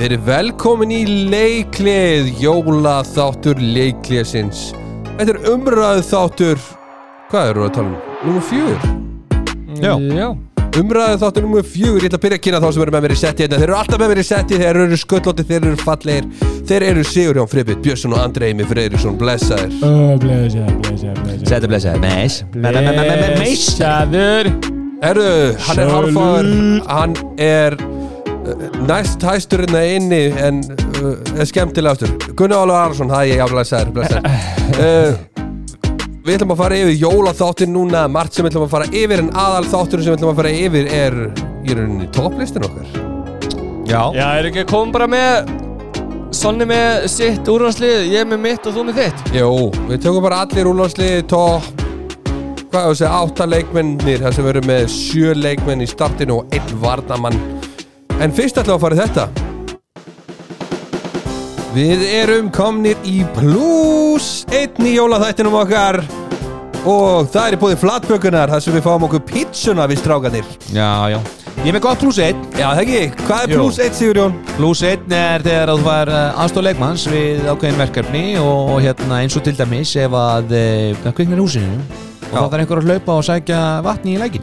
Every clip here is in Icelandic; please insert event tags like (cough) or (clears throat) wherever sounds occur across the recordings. Verið velkomin í leiklið, jólaþáttur leikliðsins. Þetta er umræðu þáttur, hvað eru að tala um? Númer fjögur. Já. Umræðu þáttur númer fjögur, ég ætla að byrja að kynna þá sem eru með mér í setti hérna. Þeir eru alltaf með mér í setti, þeir eru sköllóti, þeir eru fallegir. Þeir eru Sigurjón Frippið, Björnsson og Andreimi Freyrisson, blessaðir. Ó, blessaður, blessaður, blessaður Sættu blessaður Meis Blessaður Herru, hann er Sjálfur. harfaður, hann er uh, næst hæstur hérna inni en uh, er skemmtilegastur. Gunnar Ólaf Arason, það er ég aflega sæður, blessaður. Uh, við ætlum að fara yfir jólaþáttin núna, margt sem við ætlum að fara yfir en aðal þáttur sem við ætlum að fara yfir er í rauninni topplistin okkar. Já Já, er ekki að koma bara með Sonni með sitt úrvarslið, ég með mitt og þú með þitt Jó, við tökum bara allir úrlánsliði topp, hvað þú segja, átta leikmennir, þar sem við erum með sjö leikmenn í startinu og einn varnamann. En fyrst ætlum við að fara í þetta. Við erum komnir í pluss einn í jólaþættinum okkar og það er í búið flatbökunar þar sem við fáum okkur pítsuna við strákanir. Já, já Ég er með gott pluss 1 Já, það ekki? Hvað er Jú. pluss einn, Sigurjón? Pluss 1 er þegar að þú fær aðstóð leikmanns við ákveðin verkefni og hérna eins og til dæmis ef að eh, það kviknar í húsinu Já. og þá þarf einhver að hlaupa og sækja vatni í lækin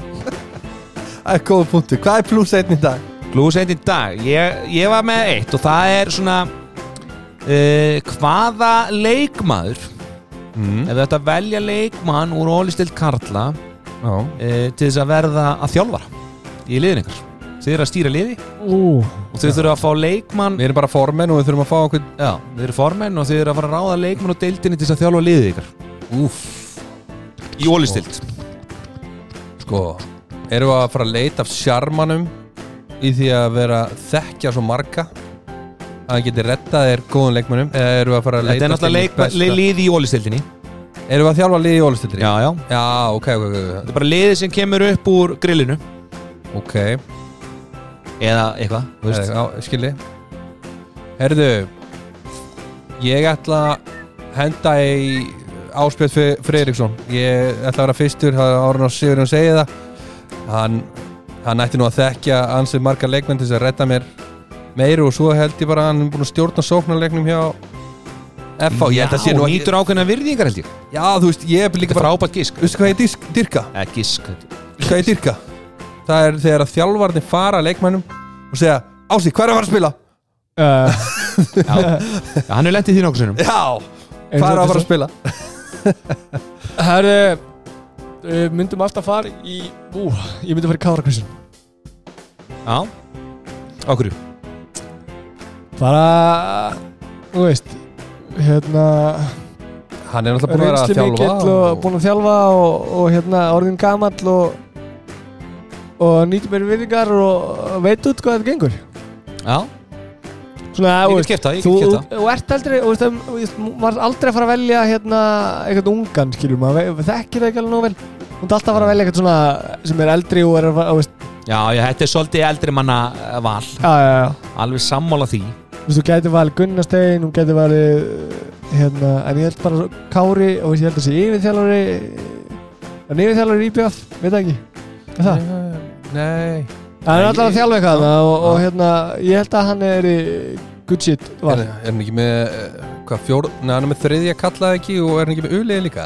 Það er góð punktu. Hvað er pluss einn í dag? Pluss 1 í dag ég, ég var með eitt og það er svona uh, hvaða leikmaður ef þú ætti að velja leikmann úr ólistild Karla Já. uh, til þess að verða að þjálfara í liðin ykkar þið eru að stýra liði Ú, og þið þurfa að fá leikmann Við erum bara formenn og við þurfum að fá okkur... já, þið eru formenn og þið eru að fara að ráða leikmann og deildinni til þess að þjálfa liðið ykkar Úff. í ólistild Sko, erum við að fara að leita af sjarmanum í því að vera þekkja svo marga að hann geti rettað þér góðum leikmönnum eða erum við að fara að leita þetta er náttúrulega til leik, hins besta? liði í ólistildinni Erum við að þjálfa liði í ólistildri? já, já Já, ok, ok, ok, þetta er bara liðið sem kemur upp úr grillinu ok Eða, eða eitthvað, þú veist Já, skilji Herðu Ég ætla að henda í Áspjöld Freyriksson Ég ætla að vera fyrstur, það er Árnars Sigurinn segið það Hann, hann ætti nú að þekkja ansið marga leikmenn til þess að redda mér meiru og svo held ég bara að hann er búin að stjórna sóknarleiknum hjá FH, ég held að sé nú Já, ekki nýtur ákveðna virðingar held ég Já, þú veist, ég er Þetta líka er bara frábært gísk Veistu hvað ég disk, dyrka? eða gísk þetta er- Veistu hvað ég dyrka? Það er þegar að þjálfarnir fara að leikmennum og segja, Ási, hvað er að fara að spila? uh, já, Já, hann er lendið því nokkuð sinnum Já, Eins hvað er og að fara að þessu. spila? herri uh, Myndum alltaf fara í Ú, ég myndi fara í kárakvissin (laughs) já, okkur Bara, þú veist Hérna Hann er náttúrulega búin að vera að Reynsli mikill þjálfa og búin að þjálfa og, og hérna orðin gamall og og nýttum mér virðingar og veit út hvað þetta gengur já, Svona, ég þú get veist, kipta, ég Þú, get kipta þú ert aldrei, þú veist, þú veist, maður er aldrei að fara að velja hérna eitthvað ungan, skilur maður, ve- þekkir það ekki alveg nóg vel. Þú ert alltaf að fara að velja eitthvað svona sem er eldri og er að fara, þú veist, Já, já, þetta er svolítið eldri manna eh, val já, já, já. Alveg sammála því Þú veist, þú gæti valið Gunnarstein, þú gæti valið, uh, hérna, en ég held bara svo- Kári, og ég held að sé yfirþjálfari, en yfirþjálfari í IBF, veit það ekki, er það? Nei Hann er Nei, alltaf að ég- þjálfa eitthvað þarna og, og Já. hérna, ég held að hann er í good shit Er, val. er hann ekki með eh, Hvað fjórð Nei, hann er með þriðja kallað ekki Og er hann ekki með uliði líka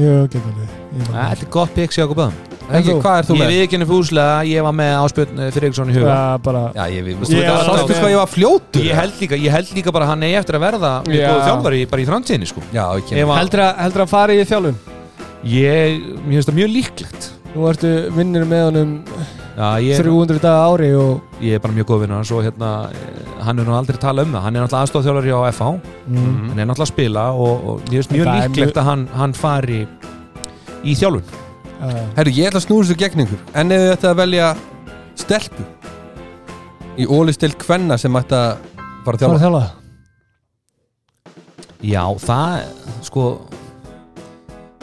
Jú, getur við. Ég Ja, man Þetta er gott píks hjá okkur bæðum ekki, þú? Hvað er þú Ég með? við ekki henni fúslega, ég var með áspjörn Friðriksson í huga það. Bara, Já, ég við Ég var Sástu alveg- hvað ég var fljótur Ég held líka, ég held líka bara að hann eigi eftir að verða mjög Já. góð þjálfari í- bara í framtíðinni sko Já, ég Ef kemur að- heldur að, heldur að fara í þjálfun? Ég, mér finnst það mjög líklegt Nú ertu vinnir með honum Já, ég, 300 daga á ári og ég er bara mjög góð vinur hans og hérna eh, hann er nú aldrei að tala um það, hann er náttúrulega aðstofþjálfari hjá FH mm. hann er náttúrulega að spila og, og ég finnst mjög Þetta er líklegt að hann, hann fari í þjálfun uh, Herru, ég ætla að snúra þessu gegn ykkur En ef þið ætti að velja Stelpu Í ólistild kvenna sem ætti að Fara að fara að þjálfa þjálfa Já, það, sko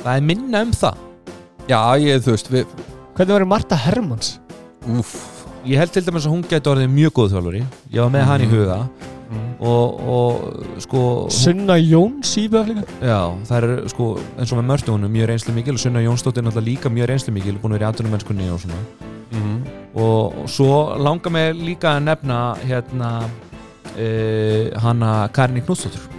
það er minna um það Já, ég, þú veist við, Hvernig verður Marta Hermans? Úf Ég held til dæmis að hún gæti orðið mjög góð þjálfari Ég var með hann í huga Mhm. og, og sko hún, Sunna Jóns í Böflinga? Já, það er sko eins og með mörtu honum mjög reynslu mikil og Sunna Jónsdóttir er náttúrulega líka mjög reynslu mikil búin að vera í aðtunum mennskunni og svona mm. og, og svo langar mig líka að nefna hérna uh, hana Karin Knúsdóttur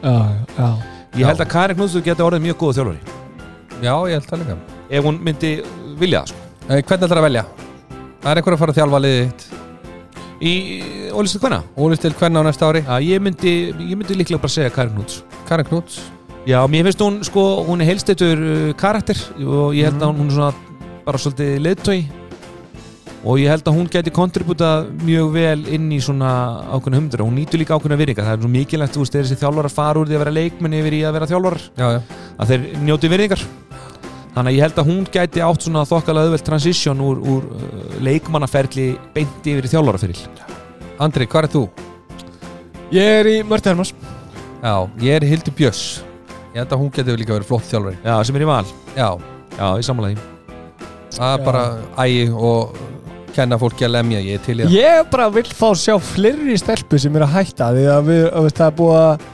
já, já, ég held að Karin Knúsdóttur geti orðið mjög góða þjálfari Já, ég held það líka ef hún myndi vilja það sko. Eh, Hvernig ætlar að velja? Það er einhver að fara að þjálfa liðið þitt í ólistu hvenna Ólistil hvernig á næsta ári? Já, ég myndi, ég myndi líklega bara segja Karin Knús Karin Knúts Já, mér finnst hún sko, hún er heilstættur uh, karakter og ég held Mhm. að hún, hún er svona bara svolítið leittói og ég held að hún geti kontribútað mjög vel inn í svona ákveðna humdur og hún nýtur líka ákveðna virðinga það er svona mikilvægt, þú veist, þegar þessi þjálfarar fara úr því að vera leikmenn yfir í að vera þjálfarar Já, já að þeir njóti virðingar þannig að ég held að hún gæti átt svona þokkalega auðvelt transition úr, úr uh, leikmannaferli beint yfir í þjálfaraferil Andri, hvað er þú? ég er í Mörti Hermans Já, ég er Hildur Björs Ég held að hún geti líka verið flott þjálfari Já, sem er í val, Já, já, í samlega það er Já. bara ægi og kenna fólki að lemja Ég er til í það ég bara vil þá sjá fleiri stelpu sem er að hætta því að við, að við það er búið að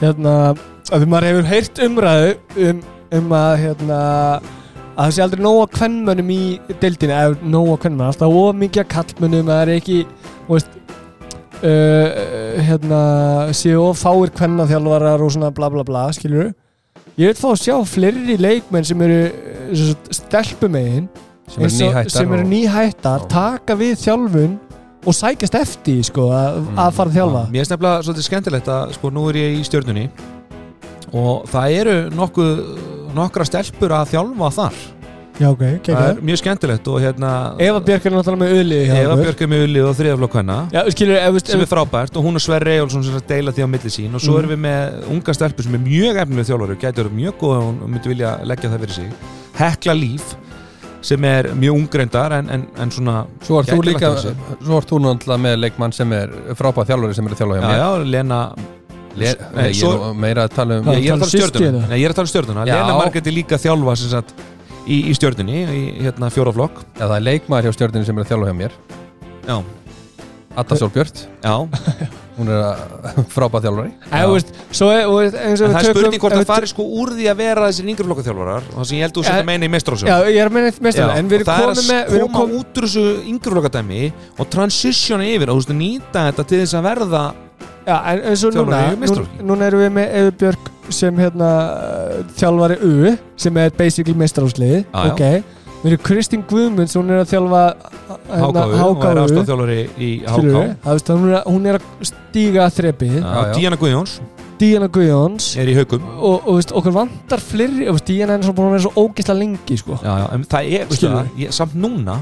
hérna, að því maður hefur heyrt umræðu um, um að hérna að það sé aldrei nóga kvennmönnum í deildinu, eða nóga kvennmönnum alltaf of mikið að kallmönnum, að það er ekki þú veist uh, hérna, séu of fáir kvennaþjálfarar og svona bla bla bla skilur ég vil fá að sjá fleiri leikmenn sem eru eh, sem sagt, stelpumegin Sem er eins og- nýhættar sem eru og- nýhættar Já. taka við þjálfun og sækjast eftir því, sko, að, Mm. að fara að þjálfa Mér finnst nefnilega svolítið skemmtilegt að sko nú er ég í stjörnunni og það eru nokkuð, nokkra stelpur að þjálfa þar já ok, það kekka er mjög skemmtilegt og hérna Eva Björk er náttúrulega með öðli Eva Björk er mjög ulið og þriðaflokk hennar já, skilur, ef, veist, sem ef, er frábært og hún og Sverre Ejólfsson sem er að deila því á milli sín og Mhm. svo erum við með unga stelpur sem er mjög efnileg þjálfari og gæti verið mjög góð og hún myndi vilja leggja það fyrir sig Hekla Líf sem er mjög ungreindar en, en, en svona Svo er þú Gæti líka lagt á sig. Svo er þú náttúrulega með leikmann sem er frábæð þjálfari sem er að þjálfa hjá já, mér já, Lena Le- Nei, Nei, Ég svo- er nú meira að tala um Já. Nei, ég er að tala um Tala um stjörnuna systkini? Nei, ég er að tala um stjörnuna Já. Lena Margrét er líka að þjálfa sem sagt, í, í stjörnunni, í hérna fjóraflokk Já, það er leikmaður hjá stjórninu sem er að þjálfa hjá mér Já, Atta Solbjört, já hún (laughs) er frábæð þjálfari ef, veist, svo er, og, eins og við En það er tökum- spurning hvort ef það við fari sko úr því að vera þessir yngri flokkaþjálfarar og það sem ég held þú Já. setja meina í Já, mestrarsjóð ég er með neitt mestar En við erum það er komið að með við erum koma kom... út úr þessu yngri flokkadæmi og transitiona yfir og þú veist nýta þetta til þess að verða Já, en eins og núna Þjálfari í nú, meistaraflokki. Núna erum við með Efi Björk sem hérna uh, þjálfari U sem er basically mestarásliði Já, já. Ok Við erum Kristín Guðmunds hún er að þjálfa hérna, HKU og er HKU ástofþjálfari í HK skilurðu? Það veist, hún, er, að- hún er að stíga að þrepi Já, Já, já. Díana Guðjóns Díana Guðjóns er í haugum og, og veist, okkur vantar fleiri og veist, Díana er svo búin að vera svo ógeðslega lengi sko. já, já, en það er, veistu Skilur það, ég, samt núna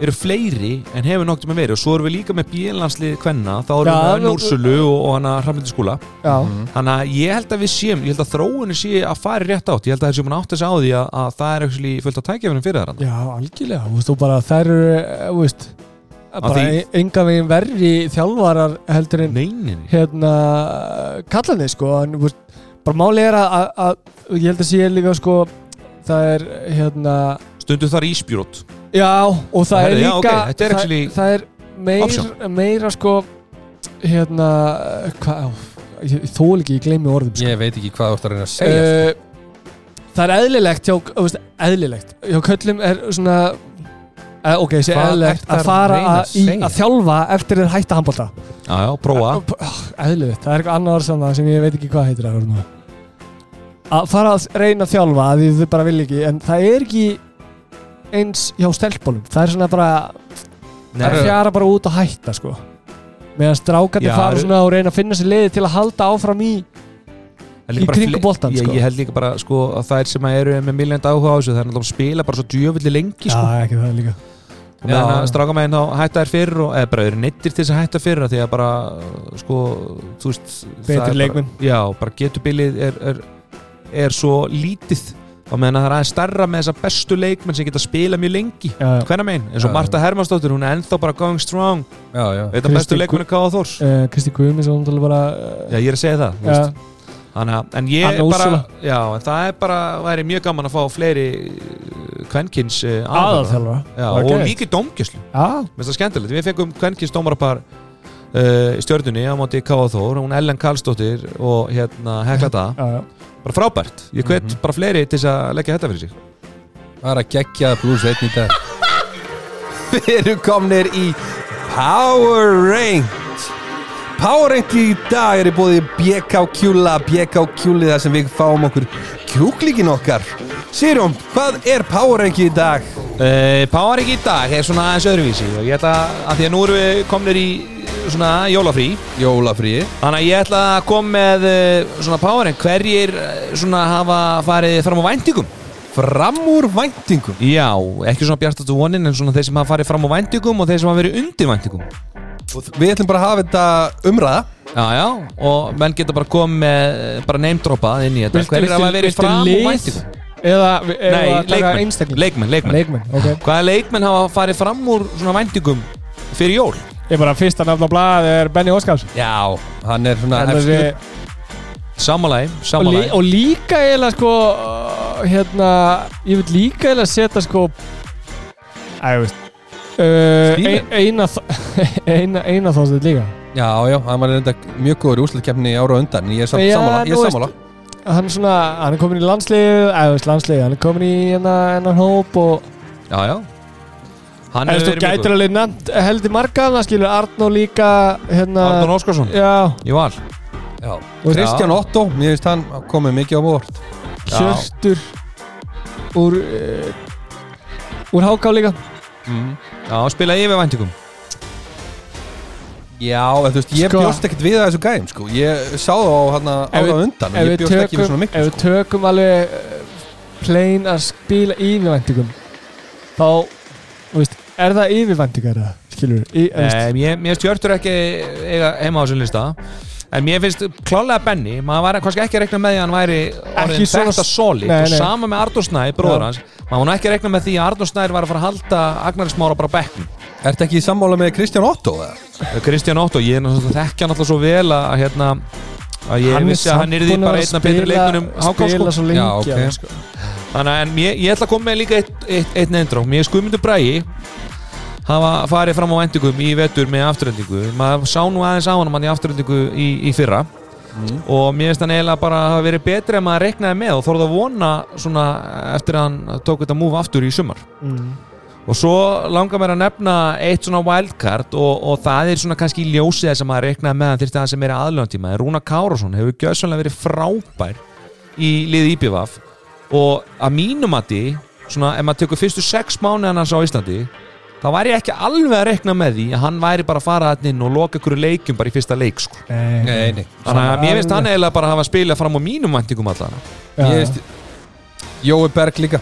eru fleiri en hefur nokkuð með verið og svo erum við líka með bílanslið kvenna, þá erum Já, við með nú- Núrsulu og, og hana Hrafnildi skúla Já, Mhm. þannig að ég held að við séum, ég held að þróunni sé að fara í rétt átt, ég held að það séum að átta sig á því að, að það er actually fullt af tækjafinum fyrir þarna já algjörlega þú veist, og bara þær eru eh, þú veist, bara því- því... enga veginn verri þjálfarar heldur en Neinin, hérna kallandi sko en, þú veist, bara máli er að, að, að ég held að sé líka sko það er hérna stundum þar íspjúrót já og það er Herri, já, líka ok, þetta er actually það, það er meir, option. meira sko hérna hvað, þó ekki ég gleymi orðum sko. Ég veit ekki hvað þú ert að reyna að segja uh, það er eðlilegt hjá, þú veist, eðlilegt hjá köllum er svona eh, ok, sé Hvað eðlilegt ertu að að fara reyna að að, í, segja? að þjálfa eftir þeir hætta handbólta Já, já, prófa ah, eðlilegt, það er eitthvað annað orð sem það sem ég veit ekki hvað heitir að vera nú að fara að reyna að þjálfa að því þau bara vilja ekki, en það er ekki eins hjá stelpunum það er svona bara, það Herru. fjara bara út að hætta sko meðan strákarnir Já, fara eru- svona og reyna að finna sér leiði til að halda áfram í Það er líka Í bara kringum fle- boltann, ég, sko. ég held líka bara sko, að það er sem að eru með miljand áhuga á þessu það er náttúrulega að spila bara svo djöfulli lengi já, sko. ekki það líka Já, meðan Já. að strákamæðin þá hætta þær fyrir og, eða bara eru neittir til þess að hætta fyrir af því að bara, uh, sko, þú veist það er Betri bara- leikmenn. Já, bara getubilið er, er, er svo lítið og meðan að það er aðeins starra með þessa bestu leikmenn sem geta spila mjög lengi já, já. hvernig megin, eins og Já. Marta Hermansdóttir hún er ennþá bara going strong Já, já veit að bestu Kristín leikmennu Káða Þórs uh, Kristi Guðmins og náttúrulega bara eh, Já, ég er að segja það, þú veist já, Þannig að, en ég Anna Anna bara, Úrsula. já, en það er bara, væri mjög gaman að fá fleiri eh, kvenkins aðalþjálfara. aðalþjálfara Já, eh, Bara og geðveikt. líki dómgjöslu, já, mér finnst það skemmtilegt. Við fengum kvenkins dómarapar uh, í stjörnunni á móti K.A. Þór, hún Ellen Karlsdóttir og hérna Hekla Daða. já, já. Bara frábært, ég hvet Mhm. bara fleiri til þess að leggja þetta fyrir sig. Það er að gegja blús einn í dag (laughs) Við erum komnir í Power Ranked Power Ranked í dag er í búið BK Kjúla, BK Kjúli þar sem við fáum okkur kjúklíkin okkar Sýrum, hvað er Power Ranked í dag? Uh, Power Rank í dag er svona aðeins öðruvísi og ég ætla að því að nú erum við komnir í svona jólafrí Jólafríi þannig að ég ætla að kom með uh, svona Power Rank hverjir eh, svona hafa farið fram á væntingum Fram úr væntingum Já, ekki svona bjartast og vonin en svona þeir sem hafa farið fram á væntingum og þeir sem hafa verið undir væntingum Og Við ætlum bara að hafa þetta umræða Já, já, og menn geta bara komið með eh, bara neymdropað inn í þetta Viltu- Hverjir hafa viltu- verið viltu fram á lið væntingum Eða, eða Nei, taka leikmenn, einstakling leikmenn, leikmenn. Leikmenn, (laughs) ok Hvaða leikmenn hafa farið fram úr svona væntingum fyrir jól? Ég bara fyrsta nafn á blað er Benny Óskars Já, hann er svona Annars efstur. er- Samalagi, og, lí, samalagi og líka eiginlega sko uh, hérna, ég vil líka eiginlega setja sko að ég veist uh, Stíminn? ein- eina þ- (laughs) eina, eina þóstið líka Já, já, hann var reynda mjög góður í úslutkefni ára á undan Ég er sam, Já, sammála, ég þú er veist- sammála hann er svona, hann er komin í landslið að ég veist landslið, hann er komin í hennar hennar hóp og Já, já Hann en þú gætur alveg nefnt heldur marga það skilur Arnó líka hérna, Arnón Óskarsson já, Í val Já. veist- Kristján Otto, mér finnst hann komið mikið á mórt Já. Hjörtur úr uh, úr háká líka mm. Já, spilaði yfir væntingum Já, en þú veist, ég Sko- bjóst ekkert við að þessu gæm sko. Ég sá það á hann Ef ára við- undan ef Ég við bjóst ekki við svona tökum, miklu ef við sko. tökum alveg eh, plain að spila yfirvæntingum þá þú veist, er það yfirvæntingar eða? skilur við Í- eða, Nei, Mér mér finnst Hjörtur ekki eiga heima á þessum lista En mér finnst klálega Benny Maður var kannski ekki að rekna með því að hann væri Ekki orðin svona- þetta solid Nei, Og nei. sama með Arnón Snær, bróður Já. hans Maður var nú ekki að rekna með því að Arnón Snær var að fara að halda Agnar Smára bara á bekknum Ertu ekki í sammála með Kristján Otto? eða? Kristján Otto, ég er náttúrulega þekkja hann alltaf svo vel að að hérna að ég er vissi að samt hann yrði búinn að bara vera einn af betri spila- leikunum spila hákáskó svo lengi Já, ok. alveg, sko. þannig að en ég, ég ætla að koma með líka eitt, eitt, eitt neindrá, mér er skumundur bræi hafa farið fram á endingum í vetur með afturöndingu maður sá nú aðeins á hann mann í afturöndingu í, í fyrra Mm. og mér finnst hann eiginlega bara að hafa verið betri en maður reknaði með og þorði að vona svona eftir að hann tók þetta múf aftur í sumar mm. Og svo langar mér að nefna eitt svona wildcard og, og það er svona kannski í ljósið þess að maður reiknaði með hann þyrfti aðeins sem er aðlöðantíma. Rúna Kárásson hefur gjössanlega verið frábær í liði IPVAF og að mínum að því, svona ef maður tekur fyrstu sex mánuði hans á Íslandi, þá væri ég ekki alveg að reikna með því að hann væri bara að fara þarna inn og loka ykkur leikjum bara í fyrsta leik sko. Nei, nei Þannig að mér finnst hann eiginlega bara að hafa spilað fram á mínum væntingum allan. Ég Já. veist Jói Berg líka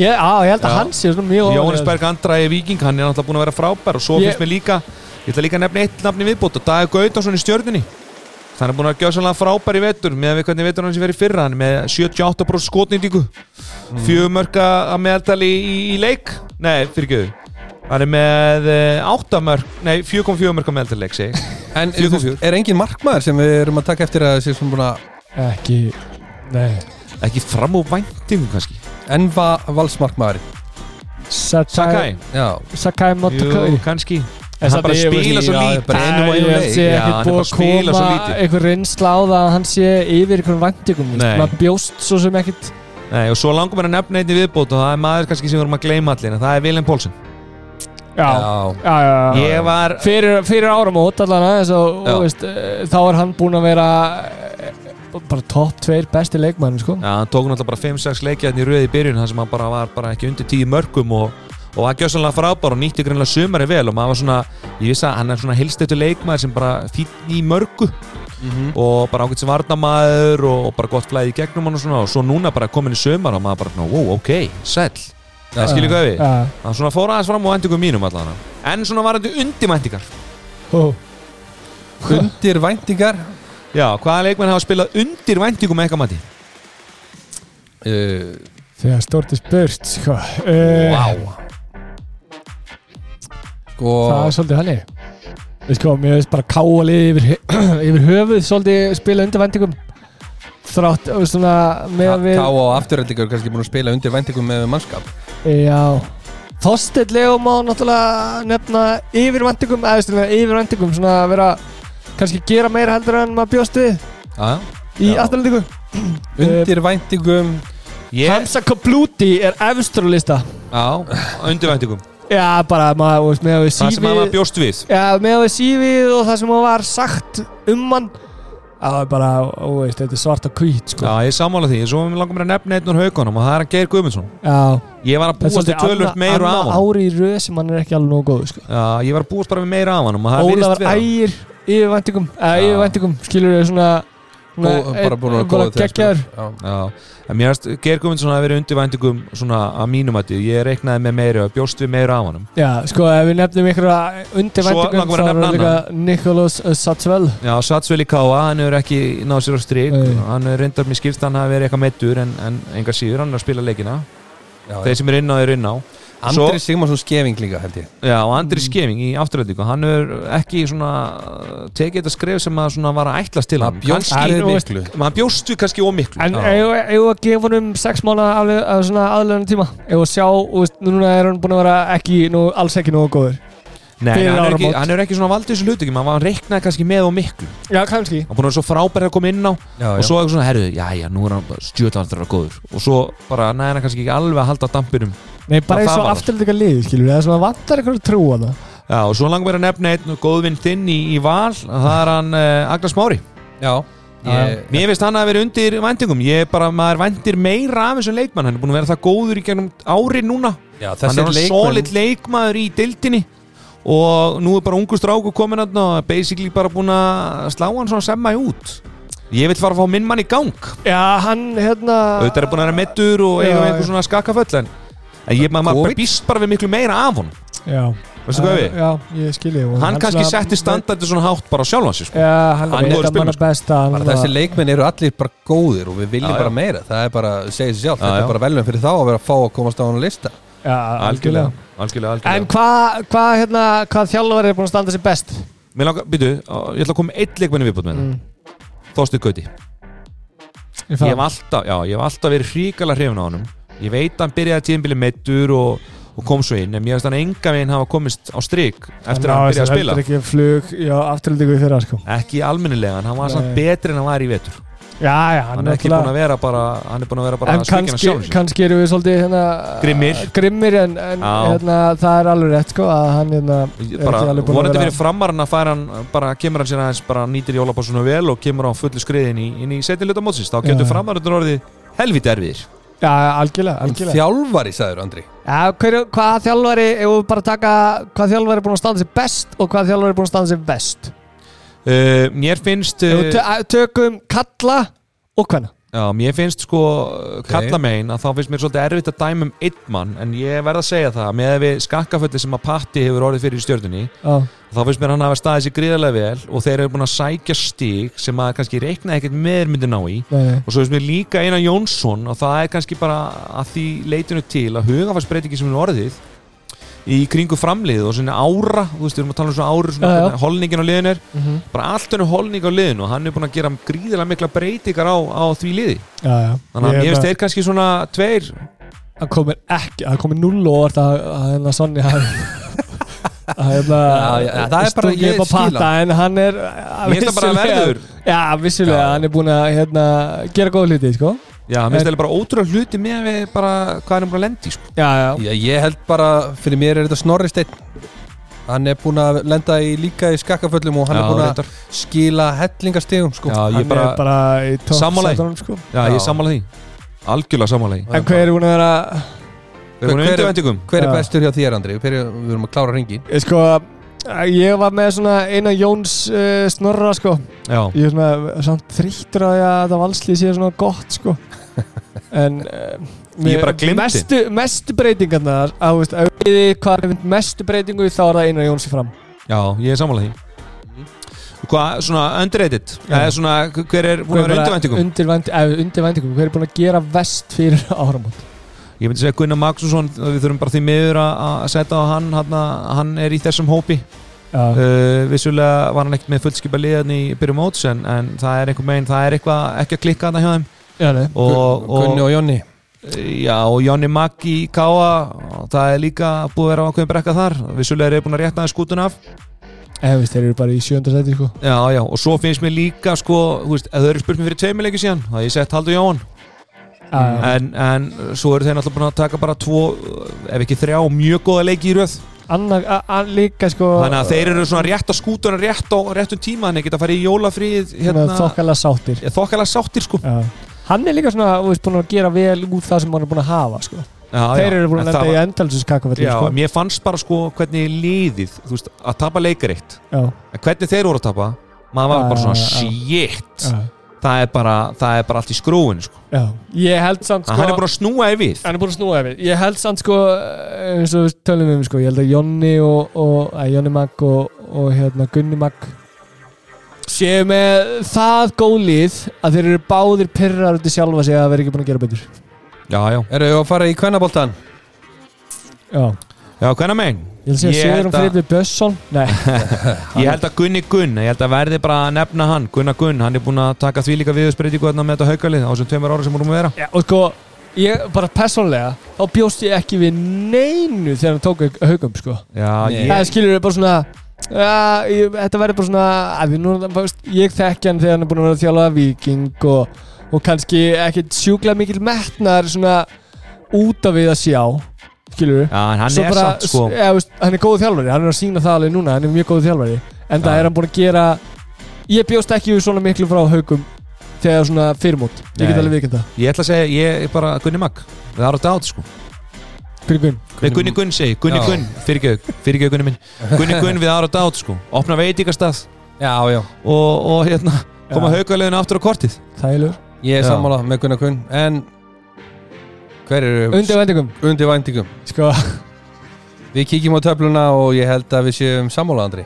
Ég- á, ég held að Já. hann sé svona mjög Jóhannes Berg andræði viking, hann er náttúrulega búin að vera frábær og svo Ég- finnst mér líka, ég ætla líka að nefna eitt nafni viðbót og Dagur Gautarsson í stjörnunni hann er búin að gjöða sannlega frábær í vetur með að við hvernig vetur hann sem verið fyrra hann er með 78% skotnýtingu mm. fjögumörka að meðaldali í, í leik nei, fyrir hann er með 8 mörk, nei 4,4 mörk að meðaldali leik segi ég. En Fjögur, þú veist, fjögur. er engin markmaður sem við erum að taka eftir að sé svona búin að ekki nei ekki fram úr væntingum kannski enva valsmarkmaður Sakai Sakai, Já, Sakai Motokai jú, kannski En hann samt bara ég veist- spila svo já, lítið bara einum og einum Ég leik. sé Já, ekkert búið hann er bara að að spila svo koma lítið. einhver reynsla á það að hann sé yfir einhverjum væntingum þú veist. Nei. maður bjóst svo sem ekkert Nei, og svo langum er að nefna einni viðbót og það er maður kannski sem við erum að gleyma allir en það er Vilhelm Pólsen já, já, já, já, já. Ég var fyrir, fyrir áramót allan aðeins og, Já. og veist, eh, þá er hann búinn að vera eh, bara topp tveir besti leikmann sko. Já, hann tók náttúrulega bara 5-6 leikja hérna í röði í byrjun þar sem hann bara var bara ekki undir 10 mörgum og, og var gjössanlega frábár og nýtti greinlega sumari vel og maður var svona, ég vissi að hann er svona helstættu leikmaður sem bara fýtt í mörgu Mhm. og bara ákveðt sem varnamaður og, og bara gott flæði í gegnum hann og svona og svo núna bara komin í sumar og maður bara, svona, wow, ok, sæll Það skilur hvað við, Já. hann svona fór aðeins fram á endingum mínum allan En svona varandi undimæntingar Hú. undir væntingar Já, hvaða leikmenn hafa spilað undir væntingum eitthvað mati? uh, þegar stort er spurt sko. Vá Eh, Sko það er svolítið hannig Við sko, mér veist bara káalið yfir, (clears throat) yfir höfuð svolítið spila undir vendingum þrátt eh, svona með að við Ká og afturrendingar eru kannski búin að spila undir væntingum með mannskap Já Þorsteinn Leó má náttúrulega nefna yfirvendingum, eða veist, yfirvendingum svona að vera, kannski gera meira heldur en maður bjóst við Já. í Já. afturlendingu Undir væntingum Ég, Hamza Kabluti er efstur á lista já, undir væntingum Já, bara, maður, þú veist, með að við það sem hann var sífið bjóst við Já, með að við sífið og það sem hann var sagt um hann Það var bara, ó, veist, þetta er svart og hvít, sko Já, Já, ég er sammála því, svo langar mér að nefna einn úr haugunum og það er að Geir Guðmundsson Ég var Það að er búast við tölvöld meira af annað hann ári í röð sem hann er ekki alveg nóg góð, sko Já, ég var að búast bara við meira af hann og það virðist Ólafur vera ægir yfirvæntingum, eða Já. yfirvæntingum, skilur við svona svona- Góð- bara búin að vera eh, bara góður þegar geggjaður spilur. Já. Já, en mér finnst Geir Guðmundsson að verið undir væntingum svona að mínum að ég reiknaði með meira og bjóst við meira af hann Já, sko, ef við nefnum ykkur að Svo langar undirvæntingum við að þá er nefna líka Nikolas Satsvel Já, Satsveli Káa, hann hefur ekki náð sér á strik Nei. hann er reyndar mér skilst að hann hafi verið eitthvað meittur en, en enga síður, hann er að spila leikina Já, þeir sem er inn á er inn á Svo- Andri Sigmarsson skefing líka held ég Já, og Mm. Andri Skeving í afturhaldingu hann er ekki svona uh, tekið þetta skref sem að svona var að ætlast til hann Maður bjóst við miklu Man bjóst við kannski ómiklu En Já. eigum við- eigum við að gefa honum sex mánuða aflega, af svona aðlöðan tíma Eigum við að sjá, þú veist, núna er hann búin að vera ekki, nú, alls ekki nógu góður Nei, fyrir hann er, ekki, áramót. hann er ekki svona valdið þessu hlutu ekki Man var reiknaði kannski með ómiklu Hann Já, kannski búin að vera svo frábæri að koma inn á Já, Og svo eitthvað svona, herru, já, já, nú er hann stjöðaldrar að góður Og svo bara næði hann kannski ekki alveg að halda á dampinum Nei, bara Já, eins það og var. afturlega liði, skilur við Það er svona vantar eitthvað að trúa það Já, og svo langar mér að nefna einn góðvinn þinn í, í val Það er hann uh, Agnar Smári Já, ég, Mér finnst hann að vera undir væntingum Ég er bara, maður væntir meira af þessum leikmann Hann er búin að vera það góður í gegnum ári núna já Hann þessi er leikmann. solid leikmaður í dildinni Og nú er bara ungu stráku komin hann Og basically bara búin að slá hann svona semma í út Ég vil fara að fá minn mann í gang Já, hann, hérna Auðvitað er búin að vera meittur og Já, eiga já. einhver svona skakkaföll En, en ég, maður Covid. bara býst bara við miklu meira af honum Já Veistu hvað við? Já, ég skilji Hann kannski setti standardi svona hátt bara á sjálfan sig sko. Já, hann Hann er er góður eitt af manna besta sko. hann bara var- þessi leikmenn eru allir bara góðir og við viljum Já, já. bara meira það er bara, segir sér sjálf, Já, þetta já. er bara velum fyrir þá að vera að fá að komast á hann lista Já, algjörlega Algjörlega, algjörlega En hvað, hvað, hérna, hvað þjálfari er búin að standa sér best? Mér langar, býtu, ég ætla að koma með eitt leikmenni viðbútt með það Mm. Þorstu Gauti Ég Ég hef alltaf, já, ég hef alltaf verið hríkala hrifin á honum Ég veit að hann byrjaði tíðinbili meittur og, og kom svo inn En mér finnst hann enga veginn hafa komist á strik Eftir að hann byrjaði að spila Það er ekki flug, já, afturlega í fyrra, sko Ekki almennilega, en hann var samt Nei. betri en hann var í vetur Já, já, hann, Hann er ekki náttúrulega- búin að vera bara Hann er búin að vera bara en að svikina kannski, sjálf kannski erum við svolítið hérna, Grimmir. grimmir en, en Já. hérna, það er alveg rétt sko að hann hérna, er bara, ekki alveg búin að vonandi vera fyrir framarinn að færa hann bara kemur hann sér aðeins bara nýtir jólapassunum vel og kemur á fullu skriðin í, inn í setjuluta mótsins þá getur Já. framarinn orðið helviti erfiðir já, algjörlega, En algjörlega. þjálfari, sagður Andri Já, hver, hvað þjálfari, ef við bara taka hvað þjálfari er búin að standa sér best og hvað þjálfari er búin að standa sér best uh, Mér finnst ef uh, við tö- að- tökum kalla og hvenna Já, mér finnst sko okay. kalla megin að þá finnst mér svolítið erfitt að dæma um einn mann en ég verð að segja það með að við skakkafölli sem að Patti hefur orðið fyrir í stjörnunni já, þá finnst mér hann hafa staðið sér gríðarlega vel og þeir eru búin að sækja stík sem að kannski reikna ekkert meður myndi ná í nei, nei. og svo finnst mér líka Einar Jónsson og það er kannski bara að því leitinu til að hugafarsbreytingi sem er orðið í kringu framlið og svona ára þú veist, við erum að tala um svona ári svona Já, já. hvernig holningin á liðinu er Mm bara allt hennu holning á liðinu og hann er búin að gera gríðilega mikla breytingar á, á því liði já, já. Þannig að Ég mér hérna- finnst þeir kannski svona tveir það komir ekki, það komir null og orð að að hérna Sonny hafi (laughs) að hérna Já, já, það er bara- stungið ég upp á skil hann. patta, en hann er Mér finnst það bara verður já, vissulega, Já. hann er búin að hérna, gera góð hluti, sko Já, mér finnst það bara ótrúlega hluti með við bara hvað er hann bara að lendi sko. já, já, Já, ég held bara, fyrir mér er þetta Snorri Steinn Hann er búin að lenda í líka í skakkaföllum og hann Já, er búin að reyndar. skila hellingastegum sko. Já, ég hann bara, er bara í topp Sammála því. sætunum, sko. já, Já. ég sammála því Algjörlega sammála því en hver er búin að vera Við erum Hver- undir vendingum Hver er Já. bestur hjá þér Andri? Hver er, við erum að klára ringin ég, sko, ég var með svona eina Jóns uh, snorra, sko Já, ég er svona samt þrýttur að ég að þetta valslið sé svona gott sko (laughs) en uh, Ég bara gleymdi. mestu, mestu breytingarnar að veist, ef við þið hvað er mestu breytingu þá er það einar Jónsi fram já, ég er sammála því Mhm. Hvað, svona underrated Já. Eða svona, hver er búin að vera undir vendingum undir, vænt, eh, undir væntingum hver er búin að gera vest fyrir (laughs) áramót Ég myndi segja Gunnar Magnússon Við þurfum bara því miður að að setja á hann Hann, hann er í þessum hópi já, uh, Vissulega var hann ekkert með fullskipa liðan í byrjum móts en, en það er einhver megin, það er eitthvað ekki að klikka hann hjá þeim já, nei. og, og, Gunni og Jonni Já, og Jónni Magg í Káa það er líka búið að vera ákveðin brekka þar vissulega er ég búin að rétta það skútun af en Eh, veist, þeir eru bara í sjönda seti sko Já, já, og svo finnst mér líka sko, þú veist, ef þau eru spurt mér fyrir tveimur leikir síðan þá hafði ég sett Haldur Jóhann já, en, en svo eru þeir náttúrulega búin að taka bara tvo, ef ekki þrjá mjög góða leiki í röð annar, a, a, líka sko þannig að þeir eru svona rétt að skútuna rétt á réttum tíma, þannig að geta að fara í jólafríð hérna, hérna, þokkalega sáttir þokkalega sáttir sko já. hann er líka svona, þú veist, búin að gera vel út það sem hann er búin að hafa sko. já, þeir eru búin en að það lenda í var- endalsus kakafellum Já, sko. mér fannst bara sko hvernig liðið, þú veist, að tapa leikar eitt já, en hvernig þeir voru að tapa maður var Já, bara svona, já, shit já, það er bara, það er bara allt í skrúin sko. já. ég held samt hann er sko búin að snúa í við hann er búin að snúa yfir ég held samt sko eins og við tölum um sko ég held að Jonni og, og að Jonni Mag og, og hérna Gunni Mag séu með það góð lið að þeir eru báðir pyrrar út í sjálfa sig að vera ekki búin að gera betur já, já, Eru við að fara í kvennaboltan? já ég já, hvernig megin held að segja Ég held Sigurum að- Friðri Bjössson nei ég held að Gunni Gunn, ég held að verði bara að nefna hann Gunna Gunn, hann er búin að taka því líka viðsbreytingu þarna með þetta haukalið á þessum tveimur ára sem vorum að vera (laughs) já, og sko ég bara persónlega þá bjóst ég ekki við neinu þegar hann tók hauk- haugum sko já, Nei. ég, það skilur við bara svona Já, ég, þetta verður bara svona að við nú, bara, veist, ég þekki hann þegar hann er búin að vera að þjálfa viking og, og kannski ekkit sjúkla mikil metnar svona út af við að sjá skilur við já, en hann er samt sko ja, veist, hann er góð þjálfari, hann er að sína það alveg núna hann er mjög góð þjálfari en það Já. er hann búin að gera ég bjóst ekki við svona miklu frá haugum þegar svona fyrirmót ég Nei. get alveg vikenda ég ætla að segja, ég er bara Gunni Mag það er átt átt sko Gunni Gunn Nei, Gunni Gunn segi, Gunni Já. Gunn, fyrirgjöðu, fyrirgjöðu Gunni minn Gunni Gunn við aðra dát sko, opna veitingastað Já, já og, og hérna, koma Já. haukaleginu aftur á kortið Þælur Ég er Já. sammála með Gunnar Kunn En hver eru Undir vendingum undir væntingum? Sko (laughs) Við kíkjum á töfluna og ég held að við séum sammála Andri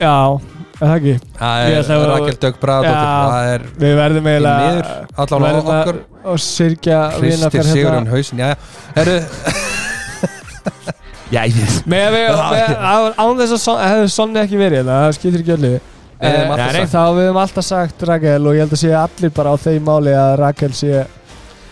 Já er Það ekki Það Ég er ætla að- Rakel Dögg Bræðardóttir Já. Það er Við verðum í eiginlega miður Allan á verðum að- okkur og hérna. sirkja vina okkar Kristir Sigurinn Hausin Já, herru Já, ég veit með, (laughs) með, með, á- án þess að son, hefði sonni ekki verið hérna, það skiptir ekki öllu Við hefðum Eh, alltaf nei, sagt- þá við hefum alltaf sagt Rakel og ég held að sé allir bara á þeim máli að Rakel sé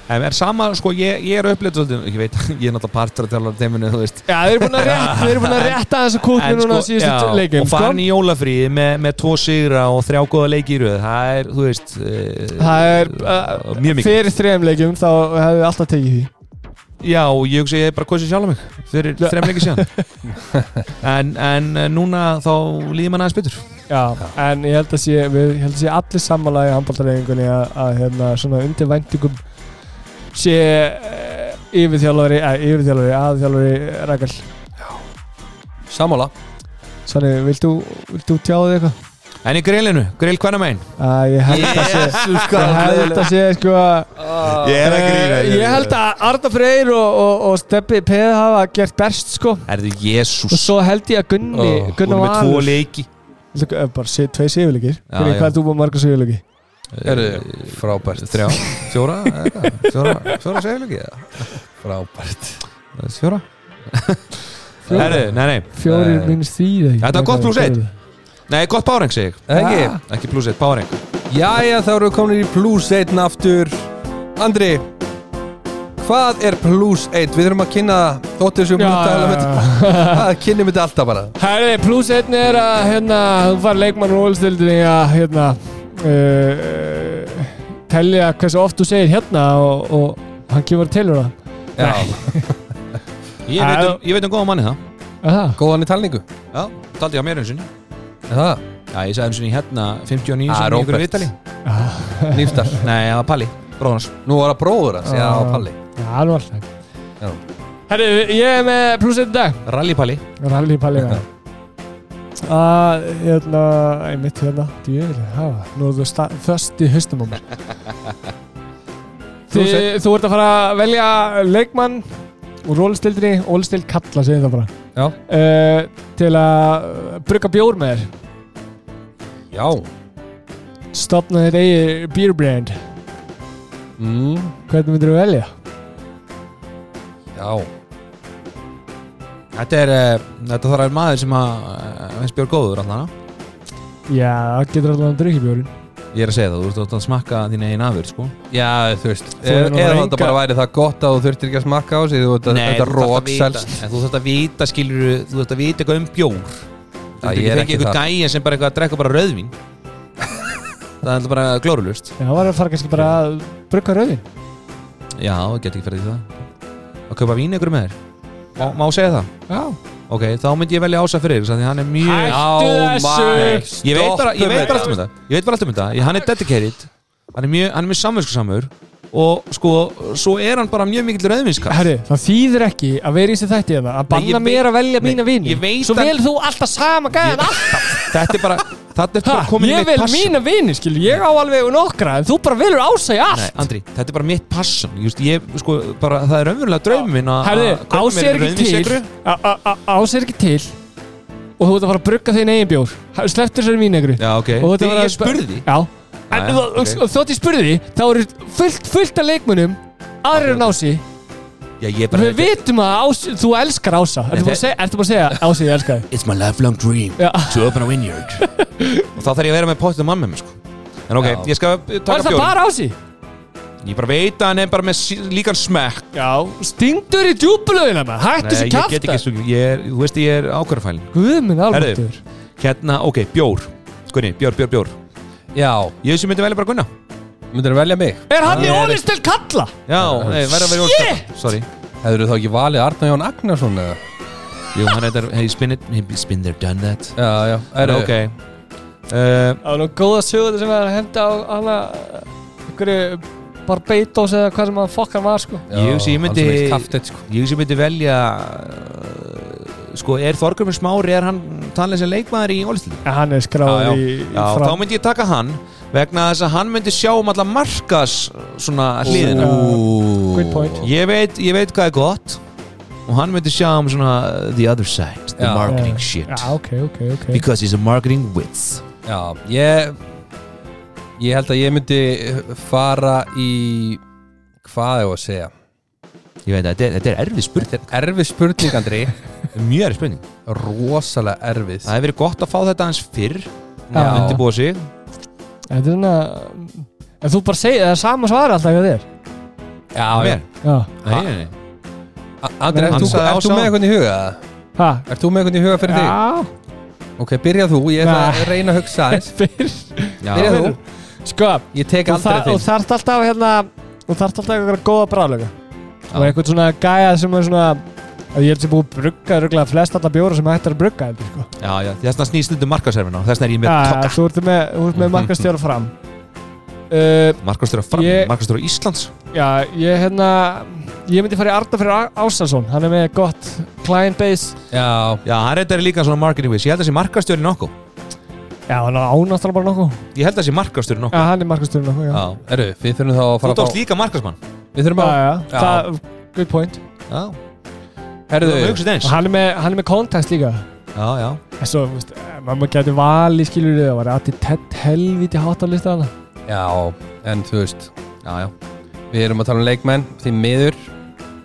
En er sama, sko, ég, ég er uppleitt svolítið, ég veit, (laughs) ég er náttúrulega partur að tala um teiminu, þú veist Já, þeir eru búin að rétta, þeir eru búin að rétta þessu kúknu En sko, núna á já, síðustu leikum og sko. farin í jólafríði með, með tvo sigra og þrjá góða leiki í röð það er, þú veist uh, Það er uh, mjög uh, mikið fyrir þrejum leikum þá hefðu við alltaf tekið því Já, og ég hugsa ég hef bara kosið sjálf mig fyrir Já. þrem (laughs) leiki síðan en, en eh, núna þá líður mann aðeins betur Já, en ég held að sé, við, ég held að sé allir sammála í handbóltareyfingunni að, að hérna, svona undir væntingum sé eh, yfirþjálfari, að yfirþjálfari, aðþjálfari Rakel Sammála Svanni, vilt þú, vilt þú tjáðu þig eitthvað? En í grillinu, grill hvernig megin? Að ég held að sé, ég held að sé, sko Ég eh, Ég held að Arda Freyr og, og, og Steppi Peð hafa gert best, sko Erðu Og jésús svo held ég að Gunni, Ó, Hún Gunnar með tvo Valur leiki Viltu- eh, Bara sé, tvei sigurleikir Já, Fyrir já. hvað er þú búið marga sigurleiki? Eh, Eh, Herru, frábært Þrjá Fjóra eða? Fjóra, fjóra segjuleiki eða? Frábært Fjóra Herru, nei, nei Fjórir Nei. mínus þýði Þetta var gott plús eitt. Nei, gott páreng segi ég Ekki Ah. Ekki pluss eitt, páreng Jæja, þá eru við komin í plus 1 aftur Andri Hvað er plus 1? Við þurfum að kynna það Þóttir þessum Já, búin að tala um já, þetta Það Kynnum þetta alltaf bara (laughs) Herri, pluss einn er að hérna, þú fær leikmann úr úlstildinni að hérna, uh, uh, tellja hversu oft þú segir hérna og, og hann kemur til hérna. Já, Ég Ah, veit um, já. ég veit um góða manni það Er það? góðan í talningu Já, taldi ég á mér eins og Er Það, Já, ég sagði eins og hérna Ah, 59 sem ég ykkur Robert. viðtali (laughs) nýftar Nei, það var Palli, bróðans Nú var það bróður hans, já, Já. Palli Já, það var alltaf. Já. Herri, ég er með pluss einn í dag. Rally Palli Rally pallið með. Að, hérna, einmitt hérna, djöfili, hafa, nú er þú sta- föst í haustum á mér. Þi, Plús einn. þú ert að fara að velja leikmann úr rólstildinni, rólstild kalla, segir það bara. Já, uh, til að uh, brugga bjór með þér já stopna þér eigi beer brand mm. hvernig myndir þú velja? Já, Þetta er, uh, þetta þarf að vera maður sem að uh, eins björ góður allan á. Já, það getur alltaf að drukja bjórin Ég er að segja það, þú ert átt að smakka þín eigin afur, sko já, þú veist Þú hefur nú Eða enga- þetta bara væri það gott að þú þurftir ekki að smakka á sig Þú veit að þetta þú þarft að rók vita. selst En þú þarft að vita, skilur Þú þarft að vita eitthvað um bjór Það Þú þarft ekki er ekki að fengja eitthvað það. gæja sem bara eitthvað að drekka bara rauðvín Það er alltaf bara glórulust Já, það var að fara kannski bara að brugga rauðin Já, ég get ekki ferðið í það Að kaupa vín ykkur með þér má, má segja það? Já, Ok, þá myndi ég velja Ása Freyr Þannig að hann er mjög þessu! Ég veit bara, ég veit bara Stoppum allt um þetta Ég veit bara allt um þetta Ég- Hann er dedicated Hann er mjög, hann er mjög samvinskusamur Og sko, svo er hann bara mjög mikill rauðvinskall Herri, það þýðir ekki að vera í þessi þætti eða að ég banna veit- mér að velja Nei, mína vini ég veit Svo að- vel þú alltaf sama gæðan Þetta er bara, þetta er bara alltaf komin í Ég mitt vel passion. mína vini, skilur, ég á alveg nokkra En þú bara velur ásæði Nei, allt Andri, þetta er bara mitt passion Just, ég, sko, bara, það er raunverulega draumum minn að Herri, að kaupa mér ásæði ekki til rauðvínsykru. a- a- a- Ásæði ekki til Og þú ert að fara að brugga þinn eigin bjór Sleftur sér mín egru Já, ok, Og þetta því var að- ég spurði Já Já, En já, ok. þú- þótt ég spurði því, þá eru fullt, fullt af leikmunum aðrir en ási Já, ég bara Við vitum að ás, þú elskar Ása Nei, Ertu búin að þe- segja, ertu búin að segja Ási, ég elska þig It's my lifelong dream Já. to open a vineyard Og þá þarf ég að vera með pottið mann með mér, sko En ok, Já. ég skal eh, Var taka það bjórin bara Ási? Ég bara veit að hann er bara með sí- líkan smekk Já Stingdur í djúbulöðina maður Hættu þessi Nei, ég get kæfta ekki stungið Ég er, þú veist, ég er ákvarðarfælin Guð minn alvöldur Hérna, ok, bjór Gunni, bjór, bjór, bjór Já, Ég þessi myndi velja bara Gunna myndir að velja mig Er hann í Ég er- ólistel kalla? Já, nei, verða að vera Jónsson Sorry Hefur þá ekki valið Arna Jón Agnarsson eða? Jú, hann er Hey, spin it Hey, spin there, done that Já, já, Herðu, herðu ok uh, Það var nú góða sögur sem að henda á hana Einhverju Barbados eða hvað sem að fokkan var sko Já, Ég hugsi, ég myndi- Hann sem heilt kaftið, sko Ég þessi myndi velja uh, Sko, er Þorgrumur Smári Er hann talað sem leikmaður í Ólistil En hann er Já, skráður í í Já, þá fram myndi ég taka hann Vegna þess að hann myndi sjá um alla markas Svona hliðina Ú. Good point. Ég veit, ég veit hvað er gott og hann myndi sjá um svona the other side, the Já. marketing Já. shit Já, ok, ok, ok because he's a marketing wits Já, ég Ég held að ég myndi fara í Hvað er að segja? ég veit að þetta er, þetta er erfið spurning Þetta er erfið spurning, Andri (laughs) mjög erfið spurning, Rosalega erfið það hefur verið gott að fá þetta aðeins fyrr Já. undirbúa sig Þetta er svona En þú bara segir, það er sama svar alltaf hjá þér Já, mér, Já nei, nei, nei. A- Andri, Hann ert þú, ert sagði þú ásá. með eitthvað í huga? eða? Ha? Ert þú með eitthvað í huga fyrir Já þig? Ok, byrja þú, ég ætla Nei. að reyna að hugsa aðeins (laughs) Fyrr Byrja Já. þú, Sko ég tek og, aldrei þa og þinn þarft alltaf hérna og þarft alltaf eitthvað góða bráðlega Já. og eitthvað svona gæja sem er svona að ég held sem búið að brugga röglega flest alla bjóra sem hægt er að brugga heldur, sko. já, já, þess vegna snýst undir markaserfina og þess vegna er ég með ja, tokka þú ert með, þú ert með markastjóra fram uh, markastjóra fram, Ég- markastjóra Íslands já, ég hérna ég myndi fara í Arda fyrir Á- Ásansson hann er með gott client base Já, já, hann reyndar er líka svona marketing wits ég held að sé markastjóri nokku já, hann á náttúrulega bara nokkuð ég held að sé markastjóri nokku já, hann er markastjóra nokkuð, já, já. Erðu, við þurfum þá að þú fara tókst að fá líka markasmann Við þurfum já, að, já, Já. Það, good point já, þú herðu hugsaði og eins hann er með, hann er með context líka já, já, En svo, þú veist, eh, mamma geti vali skilur þau, það var allir tett helviti hátt á listan hana. Já, en þú veist já, já. Við erum að tala um leikmenn, því miður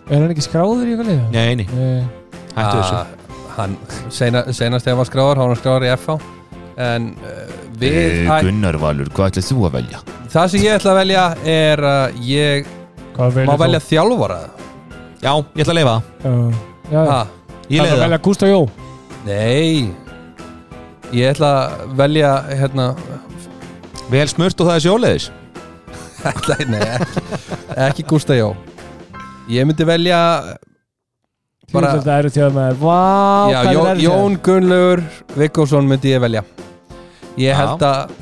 Er hann ekki skráður í eitthvað Eh, liða? nei, nei, Nei. hættu þessu þessu Ah, Hann, sena, senast þegar hann var skráður, hann var skráður í FH En uh, við, Eh, hæ, Gunnar Valur, hvað ætlar þú að velja? það sem ég ætla að velja er að ég Hvað velur má velja þjálfara já, ég ætla að leifa það Já, já. ha, Það er ég leiði að það velja Gústa Jó. Nei Ég ætla að velja, hérna (laughs) Vel smurt og það er sjóleðis ætla, Nei, ekki, ekki Gústa Jó Ég myndi velja Bara... Bara- Þetta eru þjóðum með, vá, Já, hvað Jón, er Jón Gunnlaugur Vikkosson myndi ég velja Ég Já. held að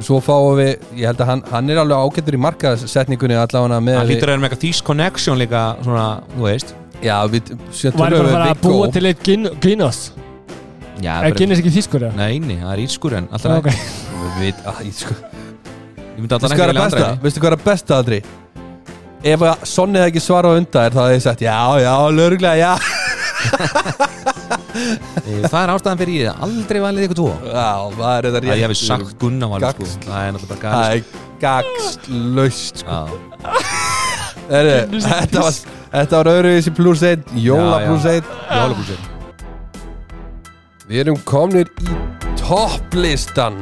Svo fáum við, ég held að hann, hann er alveg ágættur í markasetningunni allavega með Það hlýtur að vera með eitthvað Thieves Connection líka svona, þú veist Já, við sem Var tölum það við bara að Viggó. búa til eitt gin, Guinness? Já, Er Guinness ekki þýskur, já? Nei, nei, það er írskur en alltaf Já, ok. Við, að, ég sko Veistu Ég myndi alltaf hvað er að besta? einu. Veistu hvað er að besta, Andri? Ef að Sonny hefði ekki svarað á undan er það að ég sagt Já, já, lögreglega, já Eh, Það er ástæðan fyrir ég hef aldrei valið ykkur tvo Já, það er þetta Það ég hefði sagt Gunnar valið sko Gagsl. Það er náttúrulega Það bara gæli er gagslaust sko. Já, Heyrðu, Þetta var, þetta var öðruvísi pluss 1 Jóla Já, já. pluss 1 jólabúsir Við erum komnir í topplistan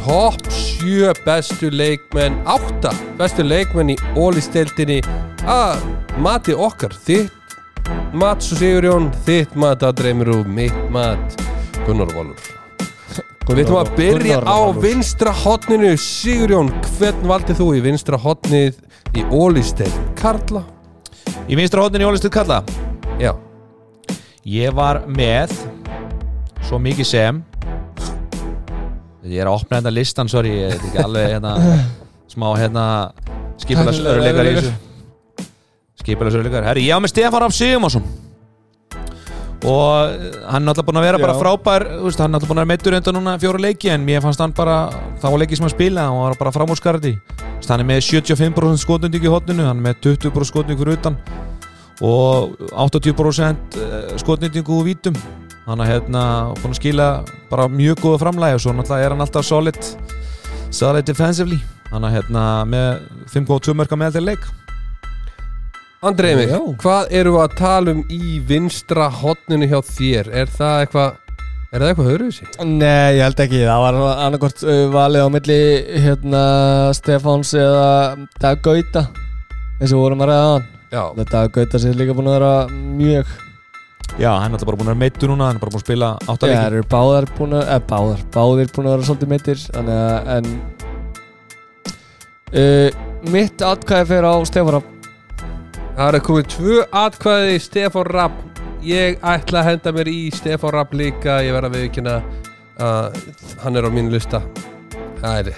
Topp 7 bestu leikmenn 8 bestu leikmenn í ólisteldinni að mati okkar þitt mat svo Sigur Jón þitt mat að dreymir og mitt mat Gunnar Valur Við ætlum að byrja Gunnar á Valur. vinstra hotninu Sigurjón, hvern valdið þú í vinstra hotnið í Ólistein? Karla? Í vinstra hótninni Ólistuð Kalla Já, Ég var með Svo mikið sem Ég er að opna hérna listan Sorry, ég er ekki alveg hérna Smá hérna Skipulagsörleikar í þessu Skipulagsörleikar Herri, ég var með Stefán Raff Sigurmásson Og eh, hann er náttúrulega búinn að vera bara Já. frábær þú veist, Hann er náttúrulega búinn að vera meittur enda núna fjóra leiki En mér fannst hann bara Það var leiki sem að spila Hann var bara framúrskarði Hann er með 75% skotundík í hotninu Hann er með 20% skotundík fyrir utan og 80% skotnýtingu úr vítum hann er hérna búin að skila bara mjög góða framlæg og svo náttúrulega er hann alltaf solid solid defensively hann er hérna með 5.2 mörka með allir leik Andrei mig, Já. hvað eru við að tala um í vinstra hotninu hjá þér? Er það eitthvað, er það eitthvað höruðsig? Nei, ég held ekki, það var annarkort valið á milli hérna Stefáns eða Dag Gauta eins og við vorum að ræða hann Já, Dag Gauta sér líka búin að vera mjög já, hann er náttúrulega bara búin að vera meittur núna hann er bara búin að spila 8 Já, leiki þeir eru báðar búin að eða báðar, báðir búin að vera svolítið mittir þannig að en uh, mitt atkvæði fyrir á Stefán Rapp. það eru komið tvö atkvæði Stefán Rapp Ég ætla að henda mér í Stefán Rapp líka Ég verð að viðkynna að hann er á mínu lista Það er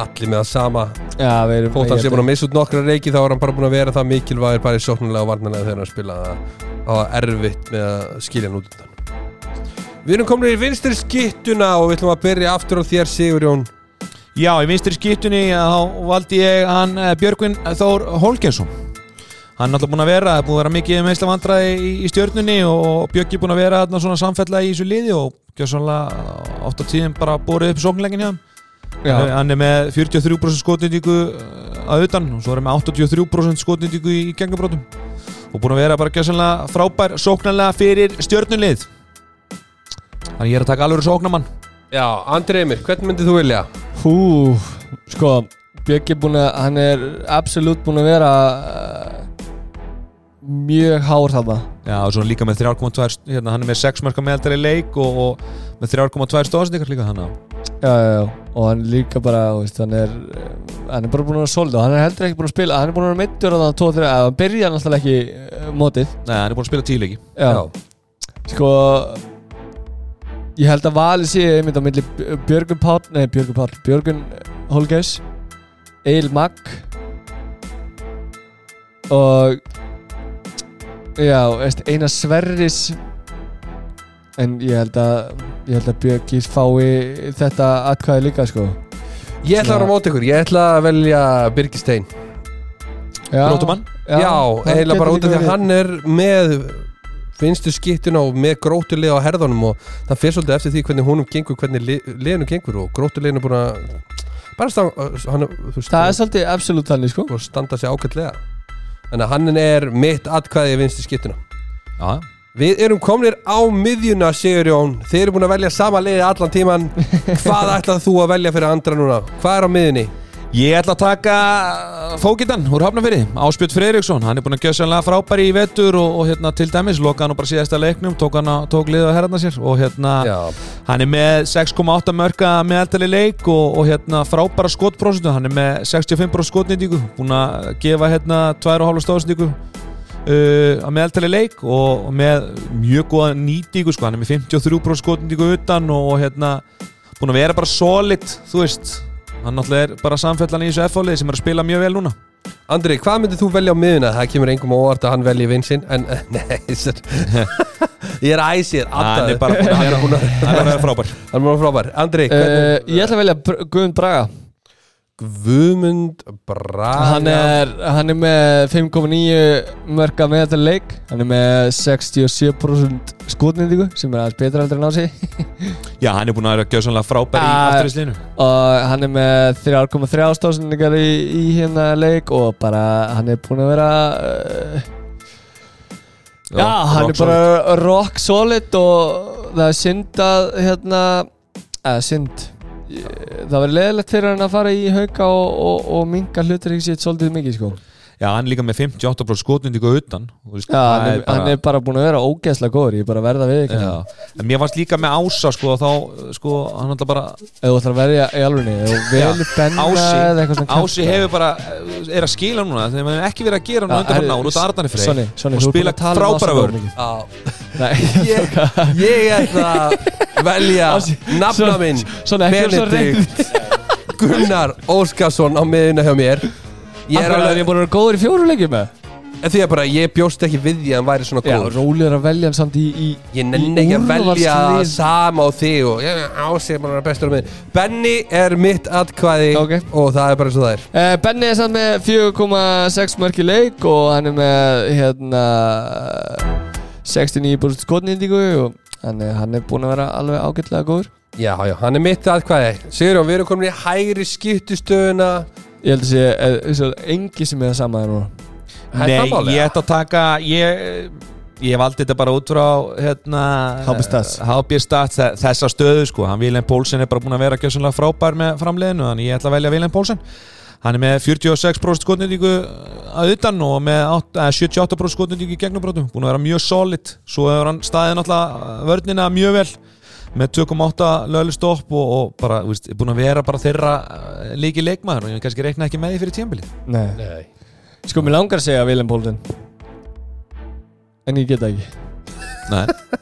allir með það sama Já, við erum Þótt hann ég sé held búin að missa út nokkra reiki þá er hann bara búin að vera það mikilvægur bara í sóknulega og varnalega þegar hann spila það var erfitt með að skilja hann út undan Við erum komin í vinstri skittuna og við ætlum að byrja aftur á þér Sigurjón já, í vinstri skiptunni já, þá valdi ég hann eh, Björgvin Þór Holgensson hann er náttúrulega búin að vera búin að vera mikið meðsla vandraði í, í stjörnunni og Björgi búin að vera þarna svona samfella í þessu liði og gjössanlega 8 tíðum bara borið upp sóknleikin hjá hann Já. hann er með 43% skotnýtingu uh, að utan og svo er hann með 83% skotnýtingu í gengabrótum og búin að vera bara gæsanlega frábær sóknarlega fyrir stjörnunlið þannig ég er að taka alveg sóknamann Já, Andri Emir, hvern myndið þú vilja? Hú, sko Björk er búin að, hann er absolutt búin að vera uh, mjög hár þarna já og svo er hann líka með 3,2 st- hérna, hann er með 6 mörka meðaldari leik og, og með 3,2 stóðsendikar líka hann já, já, já, og hann líka bara þú veist, hann er, uh, hann er bara búin að vera solid og hann er heldur ekki búin að spila, hann er búin að vera meittur að það 2-3, að eh, hann byrja náttúrulega ekki uh, mótið, nei hann er búin að spila 10 leiki já, sko ég held að valið sé einmitt á milli Björgun Páll, nei Björgun Páll Björgun Holgeis Eil Mag og já, veist, eina Sverris en ég held að ég held að Björgis fái þetta atkvæði líka sko Ég ætla að vera á móti ykkur, ég ætla að velja Birgir Stein já, Grótumann Já, það eiginlega getur bara út af líka því að verið. hann er með finstu skittuna og með grótulið á herðanum og það fyrir svolítið eftir því hvernig húnum gengur, hvernig li- liðinu gengur og grótuliðinu er búin að bara stá, hann, þú veist, það er svolítið absolutt þannig sko búin að standa sig ágætlega en að hann er mitt atkvæði í vinstu skittuna já Við erum komnir á miðjuna, Sigurjón Þið eru búin að velja sama liði allan (laughs) tíman Hvað ætlað þú að velja fyrir andra núna? Hvað er á miðjunni? Ég ætla að taka fókitan úr Hafnafyrði, Áspjöld Freyriksson hann er búin að gjösa sannlega frábæri í vetur og, og hérna, til dæmis, loka hann nú bara síðasta leiknum tók, hann á- tók liðið að herðna sér og hérna, Já, hann er með 6,8 mörka meðaldali leik og, og hérna, frábæra skotprósentu, hann er með 65% skotnýtingu, búin að gefa hérna 2,5 stóðsendingu uh, að meðaldali leik og með mjög góða nýtingu sko. hann er með 53% skotnýtingu utan og hérna, búin að vera bara solid þú veist, hann náttúrulega er bara samfellan í þessu F-fólið sem er að spila mjög vel núna Andri, hvað myndir þú velja á miðuna? Það kemur engum á óvart að hann velji vinsinn En, (laughs) nei, sér (laughs) Ég er æsir, Ah, hann er alltaf bara búin að Eh, vera, (laughs) hann er að vera frábær Hann er bara frábær Andri, uh, hvernig ég ætla að velja Br- Guðmund Braga Guðmund Braga hann er, hann er með 5,9 mörka með þetta leik hann er með 67% skotnýndingu sem er aðeins betra heldur en á (laughs) sig já, hann er búin að vera að gjösa sannlega frábær í Ah. afturvíslinu og hann er með 3,3 stásningar í, í hérna leik og bara hann er búin að vera uh, já, hann er bara rock solid og það er synd að hérna, eða synd ég- það verður leðilegt fyrir hann að fara í hauka og, og, og minga hlutur ekki sétt svolítið mikið sko já, hann er líka með 58% skotundingu utan þú veist, Já, það hann er, hann er bara búin að vera ógeðslega góður, ég er bara að verða við hérna. ekki já. En mér varst líka með Ása sko, þá, sko, hann alltaf bara Ef þú ætlar að verja í alvegni, ef þú velur benna eða eitthvað Ási, svona Ási hefur bara er að skila núna, þegar maður ekki verið að gera Já, núna undan hann herri, ár út af Arnari Sonny, Frey Sonny, þú og ert búin að spila tala um Ása frábæra of vörn mikið. Já, Nei, ég, ég ætla að velja Ási, nafna svo- minn svona ekki vera svo Benedikt Gunnar Óskarsson á miðuna hjá mér Ég Ég er alveg, búin að vera góður í fjóruleikjum með því að bara ég bjóst ekki við því að hann væri svona Já, góð rólegur að velja hann samt í, í Ég nenni ekki að velja úrvalslið. sama á þig og ég ásið bara bestur á mig Benny er mitt atkvæði Ok. og það er bara eins og það er Eh, Benni er samt með 4,6 mörg í leik og hann er með hérna 69% skotnýndingu og hann er, hann er búin að vera alveg ágætlega góður Já, já, hann er mitt atkvæði Sigurjón, við erum komin í hægri skiptustöðuna Ég held að sé, eh, þessi er engi sem er það sama þér núna Það er Nei, það málið, ég ja. ætti að taka ég, ég valdi þetta bara út frá hérna, HB Stats. HB Stats, þe- þessa stöðu sko hann Vilhelm Pólsen er bara búin að vera gjössanlega frábær með framleiðinu, þannig ég ætla að velja Vilhelm Pólsen hann er með 46% skotnýtingu að utan og með 8, eh, 78% skotnýtingu í gegnubrotum búin að vera mjög solid, svo hefur hann staðið náttúrulega vörnina mjög vel með 2,8 löglustopp og, og bara, þú veist, búin að vera bara þeirra eh, líki leikmaður og ég kannski reikna ekki með því fyrir tímabilið Nei Nei. Sko, mér langar að segja Vilhelm Pólsen En ég geta ekki Nei.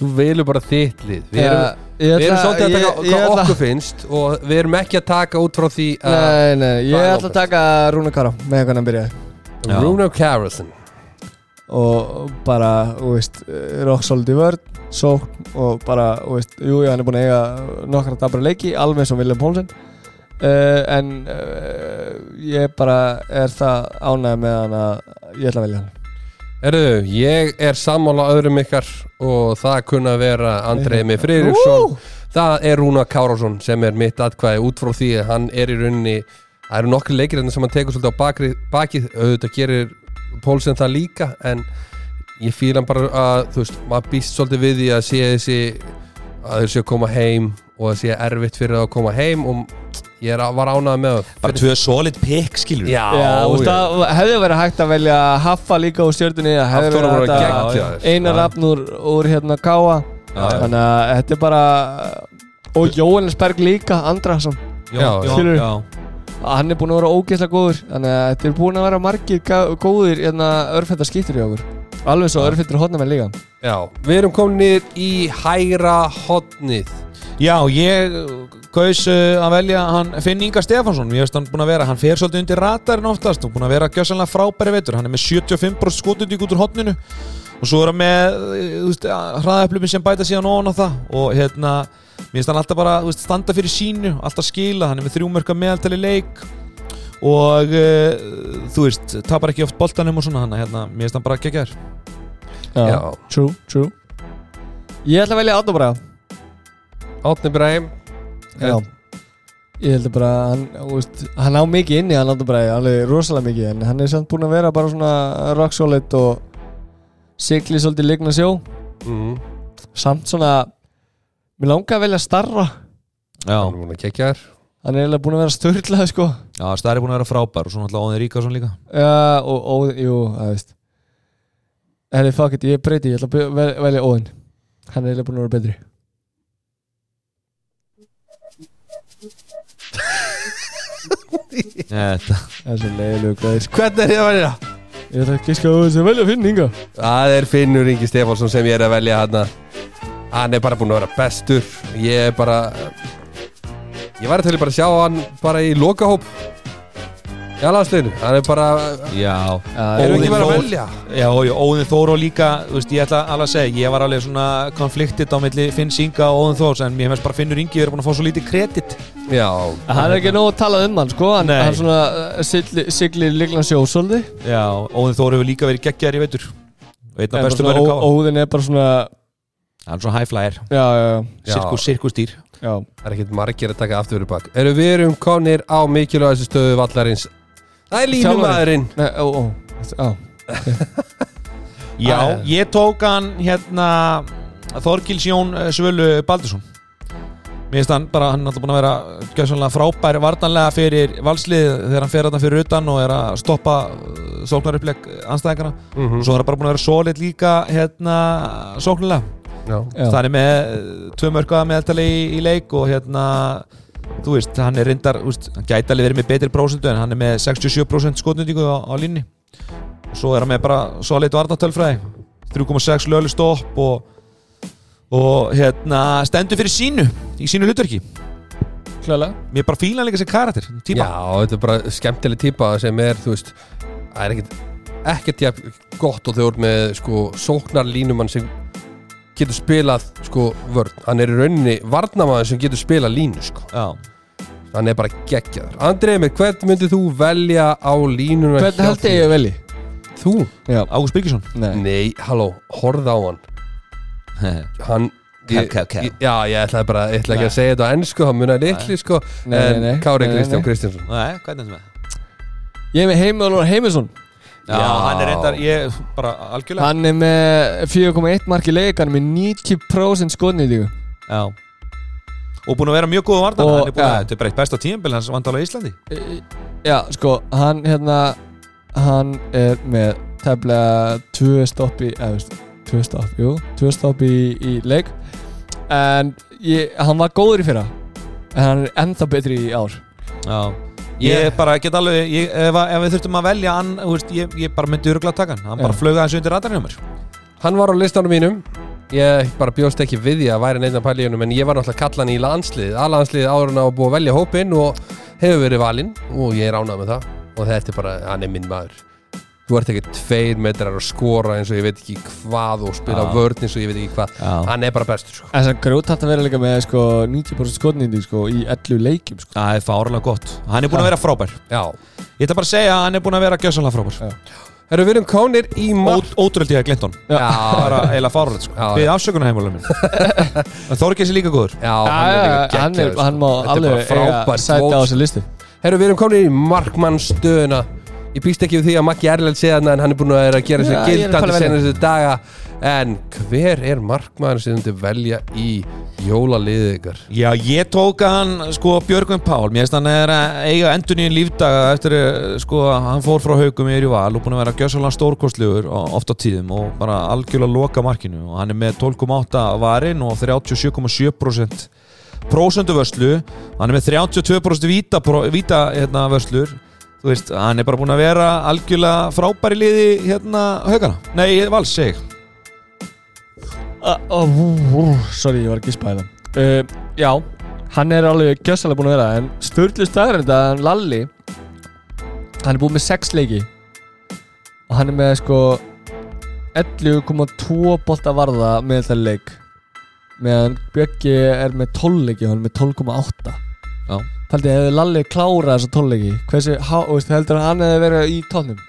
Þú velur bara þitt lið Við erum, ég við erum ætla- svolítið að ég- taka ég hvað ætla- okkur finnst og við erum ekki að taka út frá því uh, að Nei, nei, ég Brian ætla að Lopez. taka Rúna Kará með hvernig hann byrjaði Já. Bruno Carlson og bara, þú veist, eh, rock solid í vörð sókn og bara, þú veist, jú, jú, hann er búin að eiga nokkra dabra leiki, alveg sem William Pólsen uh, en uh, ég bara er það ánægð með hann að ég ætla að velja hann Herðu, ég er sammála öðrum ykkar og það kunna að vera Andrei með Friðriksson Það er Rúna Kárásson sem er mitt atkvæði út frá því að hann er í rauninni Það eru nokkri leikir en sem hann tekur svolítið á bakri, bakið auðvitað gerir Pólsen það líka en ég fíla hann bara að þú veist, maður býst svolítið við því að sé þessi að þeir séu að koma heim og að sé erfitt fyrir þá að koma heim og ég er, var ánað með það bara tvö solid pick skilur Já, Já, þú veist, já. það hefði verið hægt að velja Haffa líka úr stjörnunni það hefði Hafþóra voru verið hægt að geggjaðir. einar rafn úr, úr hérna Káa já, þannig að þetta er bara og Jóhannesberg líka, Andrason já, já, já, Skilurðu? já. hann er búin að vera ógeðslega góður þannig að þetta er búin að vera margir gá- góðir en að örfættar skýttur í okkur alveg svo örfættur hotnamenn líka já, við erum komin í hægra hotnið já ég kaus uh, að velja hann Finn Inga Stefansson ég veist hann búin að vera, hann fer svolítið undir ratarinn oftast og búin að vera gjössanlega frábæri veitur hann er með 75% skotundík út úr hotninu og svo er hann með uh, hraðaöfluminn sem bæta síðan ofan á það og hérna, mér finnst hann alltaf bara þú veist, standa fyrir sínu, alltaf skila hann er með þrjúmörka meðaltali leik og uh, þú veist tapar ekki oft boltanum og svona hann hérna, mér finnst hann bara geggjær Já. true, true ég ætla að velja Átna bara Átni Bræm já ég held að bara hann, þú veist, hann á mikið inni hann áttu bara alveg rosalega mikið en hann er samt búin að vera bara svona rock solid og sigli svolítið ligna sjó mm. samt svona mér langar að velja starra Já, Hann er búin að kekja þér hann er eiginlega búin að vera störtlað sko já Stari er búin að vera frábær og svo náttúrulega Óðin Ríkarsson (laughs) líka Já, og, og, jú, það veist Herri, fuck it, ég breyti, ég ætla að be- vel, velja Óðinn Hann er eiginlega búin að vera betri Þetta Það er svo sko. leiðilegu græðir Hvernig er ég að velja? Ég ætla ekki sko að velja finn hinga Það er Finnur Ingi Stefánsson sem ég er að velja hann Hann er bara búin að vera bestur Ég er bara Ég var til að bara sjá hann bara í lokahóp Já, landsliðinu Hann er bara Já Erum við Óðinn ekki bara að Þór. velja? Já, og Óðin Þór og líka, þú veist, ég ætla alveg að segja Ég var alveg svona konfliktitt á milli Finn Singa og Óðin Þór En mér hefst bara Finnur Ingi verið búin að fá svo lítið kredit Já Hann er ekki nóg að tala um hann, sko Hann, Nei. hann svona uh, sigli, sigli líkna sjósoldi Já, Óðin Þór hefur líka verið geggjar í veitur Og einn af bestu mörgum káa Óðinn er bara svona Hann er svona high flyer, Já, já, já, Já. sirkus, sirkustýr já. Það er ekkert margir að taka aftur fyrir bak Erum við erum konir á mikilvægastu stöðu vallarins Það er línumadurinn Nei, ó, ó, á Já, Ah, ég tók hann hérna Þorgils Jón eh, Svölu Baldursson Mér finnst hann bara, hann er alltaf búin að vera gjössanlega frábær vartanlega fyrir valslið þegar hann fer þarna fyrir utan og er að stoppa sóknaruppleg anstæðingana mm Svo er hann bara búin að vera solid líka hérna sóknulega Já, Já, Það er með eh, tvö mörkaða meðaltali í, í leik og hérna þú veist, hann er reyndar, þú veist, hann gæti alveg verið með betri prósentu en hann er með 67% skotnundingu á, á línni og svo er hann með bara solid vartatölfræði 3,6 löglu stopp og, og hérna stendur fyrir sínu í sínu hlutverki klálega mér bara fíla hann líka sem karakter já, típa. þetta er bara skemmtileg típa sem er, þú veist, það er ekkert ekkert jafn gott og þau voru með sko, sóknarlínumann sem getur spilað sko, vörn hann er í rauninni varnamaður sem getur spilað línu sko. Já. hann er bara geggjaður Andrei, með hvern myndir þú velja á línuna Hvernig hjá held þér? ég að velji? Þú? Já, Ágúst Byrkisson nei Nei, halló, horfð á hann hann ég- Ká, ká, ká. ég- Já, ég ætlaði bara, ég ætlaði ekki að segja þetta á ennsku, hann munaði litli, sko Nei, nei, en nei. Kári Nei, nei, Kristján nei. Kristjánsson Nei, hvað er þetta með? Ég er með Heimjólfur Heimisson Já, Já. hann er reyndar, ég bara algjörlega Hann er með 4,1 mark í leik Hann er með 90% skotnýtingu Já Og búin að vera mjög góð vartan Og- Hann er búin að, já. þetta er bara eitt besta tímabil hans vandala í Íslandi E- Já, sko, hann hérna Hann er með tefnilega tvö stopp í eða, veist, tvö stopp, jú, tvö stopp í, í leik en ég, hann var góður í fyrra en hann er ennþá betri í ár Já Ég Ég- bara get alveg, ég, ef, að- ef við þurftum að velja hann, þú veist, ég, ég bara myndi örgulega taka hann Hann bara Já. flög aðeins undir radarinn á mér Hann var á listanum mínum Ég bara bjóst ekki við því að væri neina pælíunum en ég var náttúrulega kallan í landsliðið A-landsliðið áður en á að búa að velja hópinn og hefur verið valinn og ég er ánað með það og þetta er bara, hann er minn maður Þú ert ekki tveir metrar að skora eins og ég veit ekki hvað og spila Já. vörn eins og ég veit ekki hvað Já, Hann er bara bestur, sko Þess að grjótt hægt að vera líka með sko, 90% skotnýting sko, í 11 leikjum sko. það er fárlega gott Hann er búin að Já. vera frábær Já Ég ætla bara að segja að hann er búin að vera gjössanlega frábær Herru, við erum kónir í mark Ó- Ótrúlega tíða Glinton Já, Bara eiginlega fárlega, sko Já, já. Við afsökunar heimvölu minn Þorgeis er líka góður já, hann er líka hann, er, geggjaður, hann sko. má Þetta er bara alveg eiga frábært sæti á mót. þessu listu Herru, við erum komin í markmannstöðuna Ég býst ekki við því að Maggi Erlend segja þarna en hann er búin að vera að gera Já, sér ég er að gildandi fara að velja. senast daga En hver er markmann sem þið velja í jólaliðið ykkar? Já, ég tók hann, sko, Björgvin Pál Mér finnst hann er að eiga endur nýjum lífdaga eftir, eh, sko, að hann fór frá haugum í Val og búin að vera gjössalega stórkostlegur og- oft á tíðum og bara algjörlega loka markinu og hann er með 12,8 varin og 37,7% prósendu vörslu hann er með 32% víta, pró- víta hérna, vörslur þú veist, hann er bara búin að vera algjörlega frábæri liði hérna haugana, nei, vals, seg Uh, uh, uh, uh, Sorry, ég var að gispa þetta uh, Já, hann er alveg gjössalega búin að vera En Sturlu staðarind að hann Lalli Hann er búin með 6 leiki Og hann er með sko 11,2 bolta varða með þetta leik Meðan Bjöggi er með 12 leiki og Hann er með 12,8 Já. Taldi, hefði Lalli klárað þessa 12 leiki Hversu, há, þú veist, heldur hann hefði verið í tónum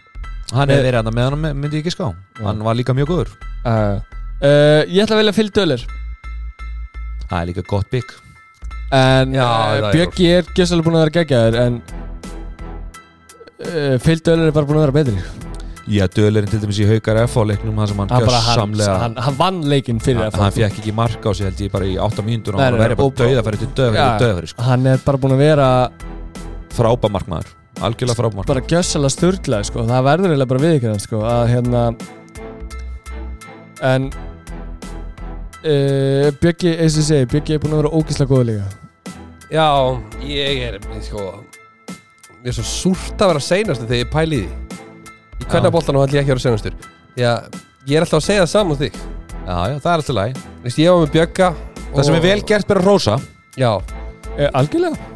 hann Nei. er verið hann með hann myndi ég ekki ská Já. hann var líka mjög góður, uh, uh, Ég ætla að velja Phil Döller það er líka gott bygg En Já, eh, það er Bjöggi er gjössalega búin að vera geggjaður En uh, Phil Döller er bara búin að vera betri Já, Dölerinn til dæmis í haukar F á leiknum hann sem hann Hann, bara, hann, samlega hann, hann, hann vann leikinn fyrir hann, FH. fekk ekki mark á sig held ég bara í 8 mínútur og Nei, hann var nei, verið bara og- döðafæri til döðafæri Já. til döðafæri sko. Hann er bara búin að vera frábær markmaður, algjörlega frábær markmaður bara gjössalega störla sko. Það verður eiginlega bara viðkjörðan sko, að hérna En uh, Bjöggi, eins og ég segi Bjöggi er búin að vera ógislega góð líka Já, ég er, ég sko Ég er svo súrt að vera seinastur þegar ég pæli í því Í hvernig boltan og ætla ég ekki að vera seinastur Já, ég er alltaf að segja það um saman því já, já, það er alltaf læg Vist, Ég var með Bjögga það sem er vel gert bara rosa Já, uh, Algjörlega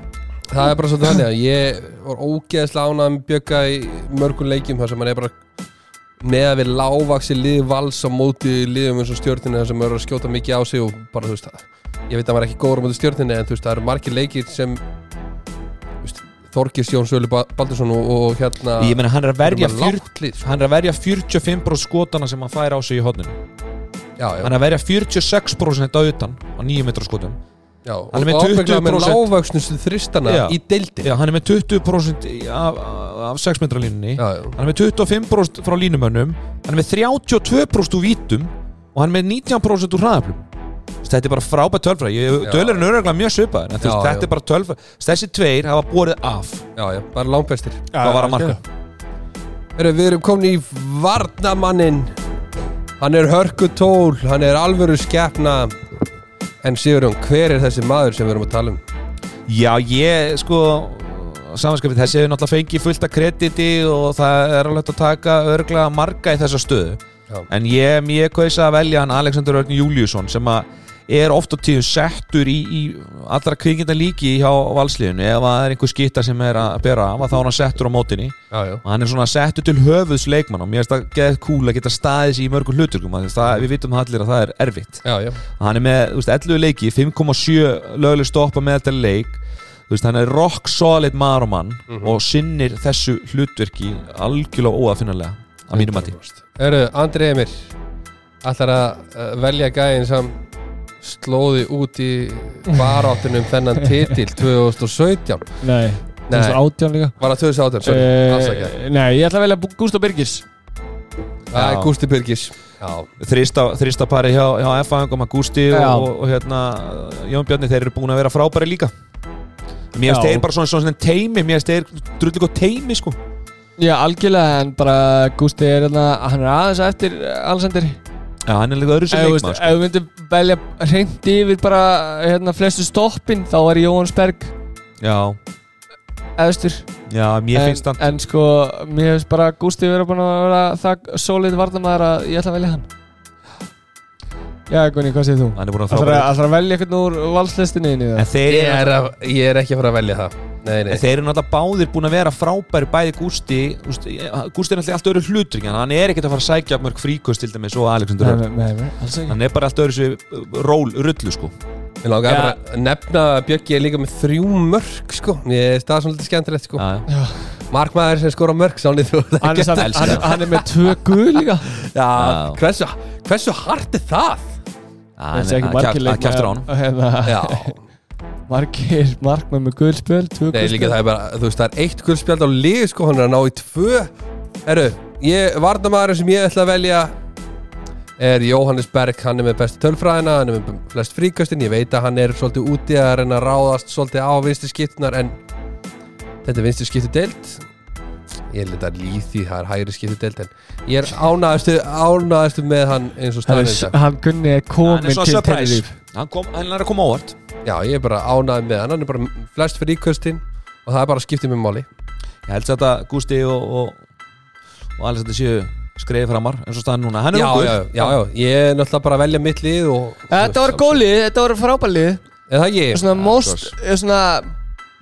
það er bara svolítið þannig að ég var ógeðslega ánað með Bjögga í mörgum leikjum þar sem hann er bara með að við lágvaksi liði vals á móti liðum eins og stjórninu þar sem eru að skjóta mikið á sig og bara þú veist það ég veit að maður er ekki góður á móti stjórninu en þú veist það eru margir leikir sem þú veist, Þorgis Jón Sölu Baldursson og, og hérna ég meina hann er að verja, erum með 40, lágt lið, sko. hann er að verja 45% skotana sem hann fær á sig í hodninu já, já, hann er að verja 46% á utan á 9 metra skotum já, hann er með og ábygglega með 20% lágvaksnustu þristana Já. í deildin já, hann er með 20% í- af, af- af 6 metra línunni já, já. hann er með 25% frá línumönnum hann er með 32% úr vítum og hann er með 19% úr hraðaflum Þú veist, þetta er bara frábært tölfræði Ég- Já. dölurinn er örgulega mjög svipaður en þú veist, Já, já. þetta er bara tölfræði Þú veist, þessi tveir hafa borið af já, já, bara langbestir hvað var að marka Heru, Við erum komin í Varnamannin Hann er hörkutól, hann er alvöru skepna En Sigurjón, hver er þessi maður sem við erum að tala um? Já, ég sko samanskapið þessi hefur náttúrulega fengið fullt af krediti og það er alveg hægt að taka örglega marga í þessa stöðu Já. en ég, ég kausa að velja hann Alexander Örn Júliusson sem að er oft og tíu settur í, í allra kvikinda líki hjá valsliðinu ef að það er einhver skýta sem er að bera af að þá er hann settur á mótinni Já, já, og hann er svona settur til höfuðs leikmann og mér finnst það geðið kúl að geta staðis í mörgum hluturkum af því það, við vitum allir að það er erfitt já, já, hann er með þú veist, 11 leiki 5,7 löguleg stoppa með þetta leik Þú veist, hann er rock solid maður og mann og sinnir þessu hlutverki algjörlega óafinnalega að mínum mati Heru, Andri Emir Ætlar að uh, velja gæðin sem slóði út í baráttunum þennan titil 2017 Nei, Nei, 2018 líka var það 2018, sorry, afsakið Eh, Nei, ég ætla að velja Bú- Gústó Birgis Það er já. Gústi Byrgis Já, þrista, þrista pari hjá, hjá F-fæðingum að Gústi Já. og, og hérna Jón Bjarni, þeir eru búin að vera frábæri líka mér Já. finnst þeir bara svona, svona teimi mér finnst þeir drullu gott teimi sko Já, algjörlega, en bara Gústi er hérna, hann er aðeins á eftir Alessandir Já, hann er líka öðru sem Ef þú Eh, leikmann veist, sko. ef við myndum velja hreint yfir bara hérna, flestu stoppin, þá er Jóhansberg Já, efstur Já, mér en, finnst hann en sko, mér finnst bara Gústi vera búin að vera það solid varnamæður að ég ætla að velja hann Já, Gunni, hvað segir þú? hann er búin að Það frábæri þarf að velja eitthvað úr valslistinni inn í en það þeir ég eru er, að, ég er ekki að fara að velja það Nei, nei, En þeir eru náttúrulega báðir búin að vera frábæri bæði Gústi Gústi er náttúrulega allt öðru hlutring en hann er ekkert að fara að sækja mörg fríkost til dæmis og Nei, Alexander Örn nei, nei, nei, alls ekki hann er bara allt öðru sér ról rullu sko Ég langaði Já. bara að nefna að Björki er líka með þrjú mörk sko Ég er staðið svolítið skemmtilegt sko Já, já. Markmaður sem skora mörk, sáni þú það Hann er, samt, elska hann, það. hann er með tvö guð líka Já, Já. hversu, hversu hart er það? hann Það er er ekki að margir kjafta- hérna. að kjæftur á hann leikmenn Já, (laughs) Margir markmenn með guð spil Tvö nei guð líka spil það er bara, þú veist það er eitt guldspjald á lið sko Hann er að ná í tvö Herru, ég, varnamaður sem ég ætla að velja er Jóhannes Berg, hann er með bestu tölfræðina, hann er með flest fríkastin, ég veit að hann er svolítið úti að reyna að ráðast svolítið á vinstri skiptunar en þetta er vinstri skiptu deild ég held að líði það er hægri skiptu deild en ég er ánæðastu, ánæðastu með hann eins og staðan Hann er- þetta Hann Gunni er hann komin er svo til surprise Tenerife hann, kom, hann er að koma óvart já ég er bara ánæði með hann, hann er bara með flest fríkastin og það er bara skiptið með máli ég held satt að Gústi og, og, og Alexander séu skreiði framar eins og staðan núna hann já, er ungur já, já, já, ég er náttúrulega bara að velja mitt lið og Þetta var gólið, þetta var frábælið eða það ég Svona most, eh, svona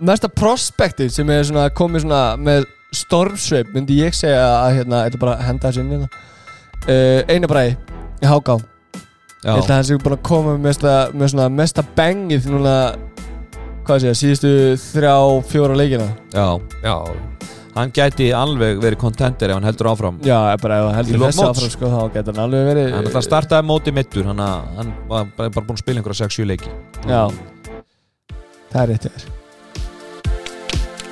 Mesta prospektið sem er svona komið svona með stormsveip myndi ég segja að hérna, þetta er bara að henda þessu inn hérna uh, Einabræði, í háká Já. Ég held að hann sé búin að koma með mesta, með svona mesta bengið núna, hvað sé ég, síðustu þrjá, fjóra leikina. Já. já, hann gæti alveg verið kontenteri ef hann heldur áfram Já, eh, ég bara ef hann Í heldur lok þessi móts. áfram, sko, þá getur hann alveg verið... hann ætla að startaði móti mittur hann, að- hann var bara bara búinn að spila einhverja 6-7 leiki Já. Það er rétt þér.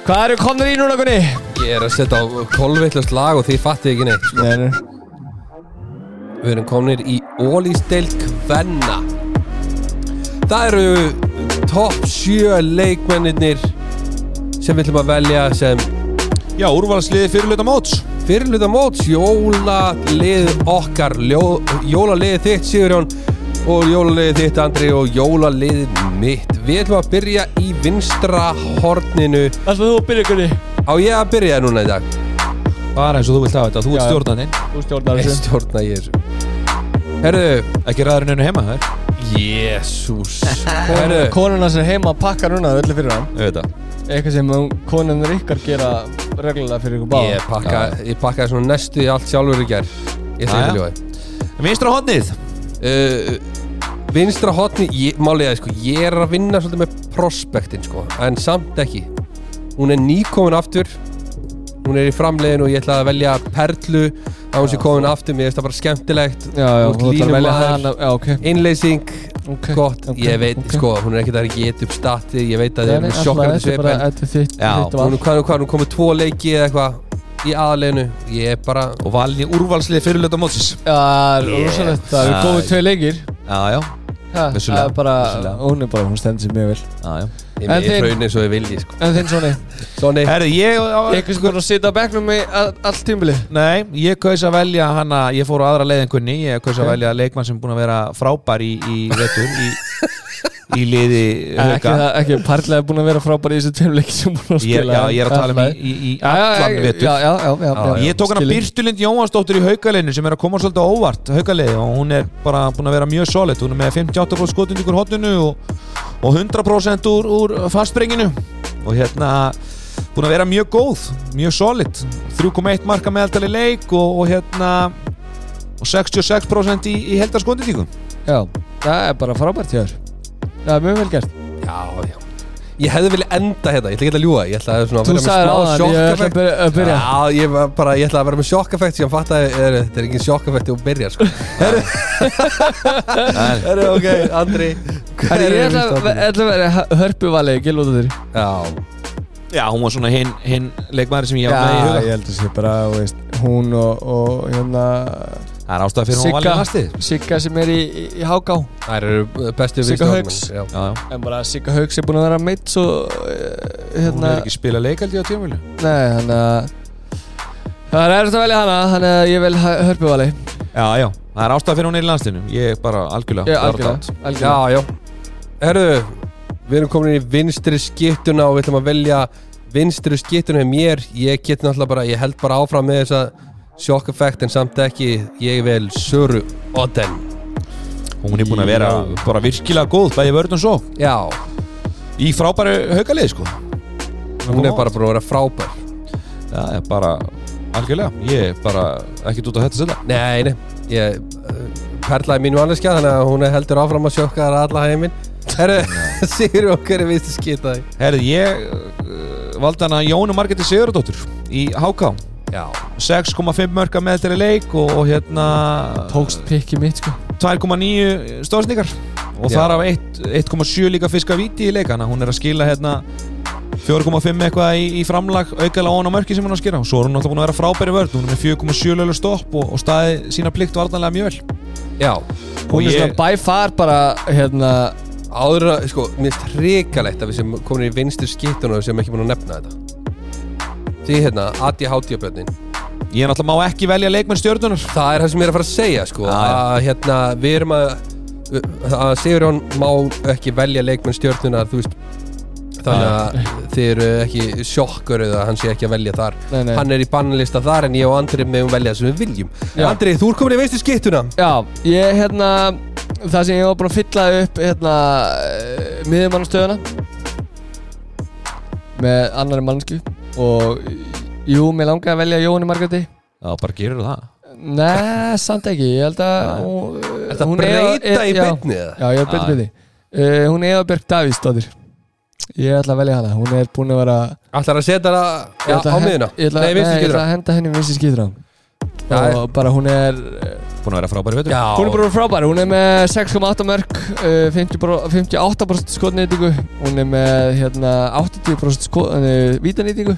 Hvað eru komnir í núna, Gunni? ég er að setja á kolvittlust lag og því fatti ekki neitt Nei, nei. Við erum kominir í Ólísdeild Kvenna Það eru topp 7 leikmennir sem við ætlum að velja sem já, úrvalsliði fyrirluta móts fyrirluta móts jólalið okkar ljó, jólalið þitt Sigurjón og jólalið þitt Andri og jólalið mitt Við ætlum að byrja í vinstra horninu Ætlaðu þú að byrja, Gunni? Á ég að byrja núna í dag? bara eins og þú vilt hafa þetta, þú ert Já. stjórnandi Þú stjórnar Ég þessu. stjórna ég þessu Herðu, ekki ræðurinn einu heima þær jésús (laughs) Herðu, Konuna sem er heima að pakka núna öllu fyrir hann. auðvitað Eitthvað sem konunir ykkar gera reglulega fyrir ykkur báða. Ég, pakka, ég pakkaði svona næstu í allt sjálfur í gerð Ég Jæja. þegar ljóði vinstra hodnið uh, Vinstra hotni, ég, málið að sko, ég er að vinna svolítið með prospektin sko, en samt ekki Hún er nýkomin aftur Hún er í framlegin og ég ætla að velja Perlu á hún sem komin aftur Mér finnst það bara skemmtilegt sko. Já, Þú já, ert þú ætlar að velja línumaður. hana, já, ok. Innleysing, Ok, gott, ok, ég veit ok. sko, hún er ekkert að geta upp statið, ég veit að þið eru Nei, nei, með alltaf, sjokkandi þetta er svip bara, en þetta er þitt, þitt Já, hún val er hvað, hvað, hún er komið tvo leiki eða eitthvað í aðaleginu, ég er bara og valin í úrvalsliði fyrirluta mótsins Já, það er rosalegt, það eru Yes. góðu tvei leikir já, já Ha, það Vissulega, er bara, vissulega. hún er bara, hún stendur sér mjög vel já, já. Ég En með þinn- hraun eins og ég vilji sko. En þinn Sóni, Sonni, Herri, ég, eitthvað sem voru að sitja á bekknum í all, allt tímbili Nei, ég kaus að velja hana Ég fór á aðra leið en kunni Ég kaus að velja leikmann sem er búin að vera frábær í, í vetur í, í liði Ekki, hauka það- ekki parlega búin að vera frábær í þessu tveimleiki sem hún var að ég, spila Já, ég er að tala um í, í, í allan já, vetur já, já, já, já, já, Ég tók hana skil ég. Byrstulind Jóhansdóttir í haukaleinu sem er að koma svolítið á óvart haukaleið og hún er bara búin að vera mjög solid hún er með 58% skotund ykkur hotninu og, og 100% úr, úr fastbrenginu og hérna búin að vera mjög góð, mjög solid 3,1 marka meðaldali leik og, og hérna og 66% í, í heldarskotindíku Já, það er bara frábært hjá þér Það er mjög vel gert já, já Ég hefði viljað enda hérna, ég ætla ekki að ljúga Ég ætla að svona, Þú vera með sagðir smá áðan, shock ég ætla að effect. byrja- að byrja. Já, ég, var bara, ég ætla að vera með sjokkeffekt Ég fatt að þetta er engin sjokkeffekt Þú byrjar (laughs) sko Herru, ok, Andri Herri, hver ég er ætla þín að- stofnun? ætla að vera hörpuvalegi, ég lúta þér Já, Já, hún var svona hinn hin leikmaður sem ég var með í Já, huga ég held að sé bara, þú veist, hún og, og hérna Það er ástæða fyrir hún var Sigga, líka næstið Sigga sem er í, í, í Háká þær eru bestu Sigga vinstramönnum, Hauks. já. Já, já, En bara Sigga Hauks er búin að vera meitt svo eh, hún hérna, er ekki spila leikaldi á tíumvilu Nei, hann að Það er erfitt að velja hana, þannig að ég vil hörpuvali Já, já, það er ástæða fyrir hún er í landslinu Ég bara algjörlega Ég klárt algjörlega, átt. Já, algjörlega. já Herru, við erum komin í vinstri skiptuna og við ætlum að velja vinstri skiptuna hjá mér Ég get náttúrulega bara, ég held bara áfram með þessa shock effect en samt ekki Ég vel Söru Oden Hún er búin að vera bara virkilega góð Bæði vörðun svo Já, Í frábæru haukalið sko hún er bara búin að vera frábær Já, ég bara algjörlega Ég er bara ekkert út á þetta setja Nei, nei, ég uh, perlaði mínu annarskja þannig að hún er heldur áfram að sjokka þar alla heiminn Herru, (laughs) sigur okkar er vinstri skiptaði Herði, ég uh, valdi hana Jónu Margeti Sigurðardóttur Í HK Já, 6,5 mörka með þeirri leik og, og hérna Tókst pikki mitt sko 2,9 stóðsningar og Já. þar af eitt- 1,7 líka fiska víti í leikana hún er að skila hérna 4,5 eitthvað í, í framlag aukala ofan á mörki sem hún er að skila og svo er hún náttúrulega búin að vera frábæri vörð hún er með 4,7 löglu stopp og, og staði sína plikt vartanlega mjög vel já og Hún er ég, svona by far bara, hérna Áður að, sko, mér finnst hrikalegt að við sem komin í vinstri skiptuna og sem ekki búin að nefna þetta Því hérna, Adi Hátíabjörnin ég er náttúrulega má ekki velja leikmenn stjörnunar Það er það sem ég er að fara að segja, sko Já, já. að hérna, við erum að að Sigurjón má ekki velja leikmenn stjörnunar, þú veist þannig að þið eru ekki sjokkur eða hann sé ekki að velja þar Nei, nei. hann er í bannlista þar en ég og Andri meðum velja það sem við viljum Já. Andri, þú er komin í vinstri skiptuna Já, ég hérna Það sem ég var búin að fylla upp hérna eh, miðumannastöðuna með annari mannsku og jú, mér langaði að velja Jóni Margreti já, bara gerur það Nei, samt ekki, ég held að Nei. hún, e- Er það breyta í beinni eða? Já, ég er Já. betur beinni uh, Hún er Eða Björk Davíðsdóttir Ég ætla að velja hana, hún er búin að vera Ætlar að setja það Ég já, ætla á að hen- miðuna? Ég ætla, Nei, nei, vinstri ég ætla skiptuna að henda henni vinsi skýðrán Já, og bara hún er eh, búin að vera frábæri veitur Já. Hún er bara frábær, hún er með 6,8 mörg, eh, 58% skotnýtingu, hún er með hérna, 80% sko- eh, vítanýtingu,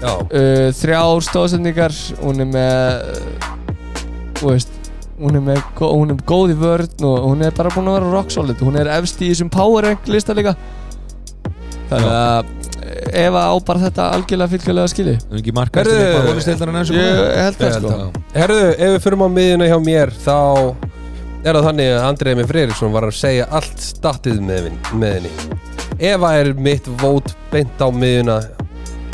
Já, uh, þrjár stóðsendingar, hún er með, eh, þú veist, hún er, með, gó- hún er góð í vörn og hún er bara búin að vera rock solid, hún er efst í þessum power rank lista líka, þannig að eh, Eva á bara þetta algjörlega fylgjulega skili. um ekki markast Herðu, eitthvað hólistildar en eins og Ég hún er. Ég held það held sko. það. Herðu, ef við förum á miðjuna hjá mér þá er það þannig að Andrei með Freyriksson var að segja allt statið með, með henni Eva er mitt vót beint á miðjuna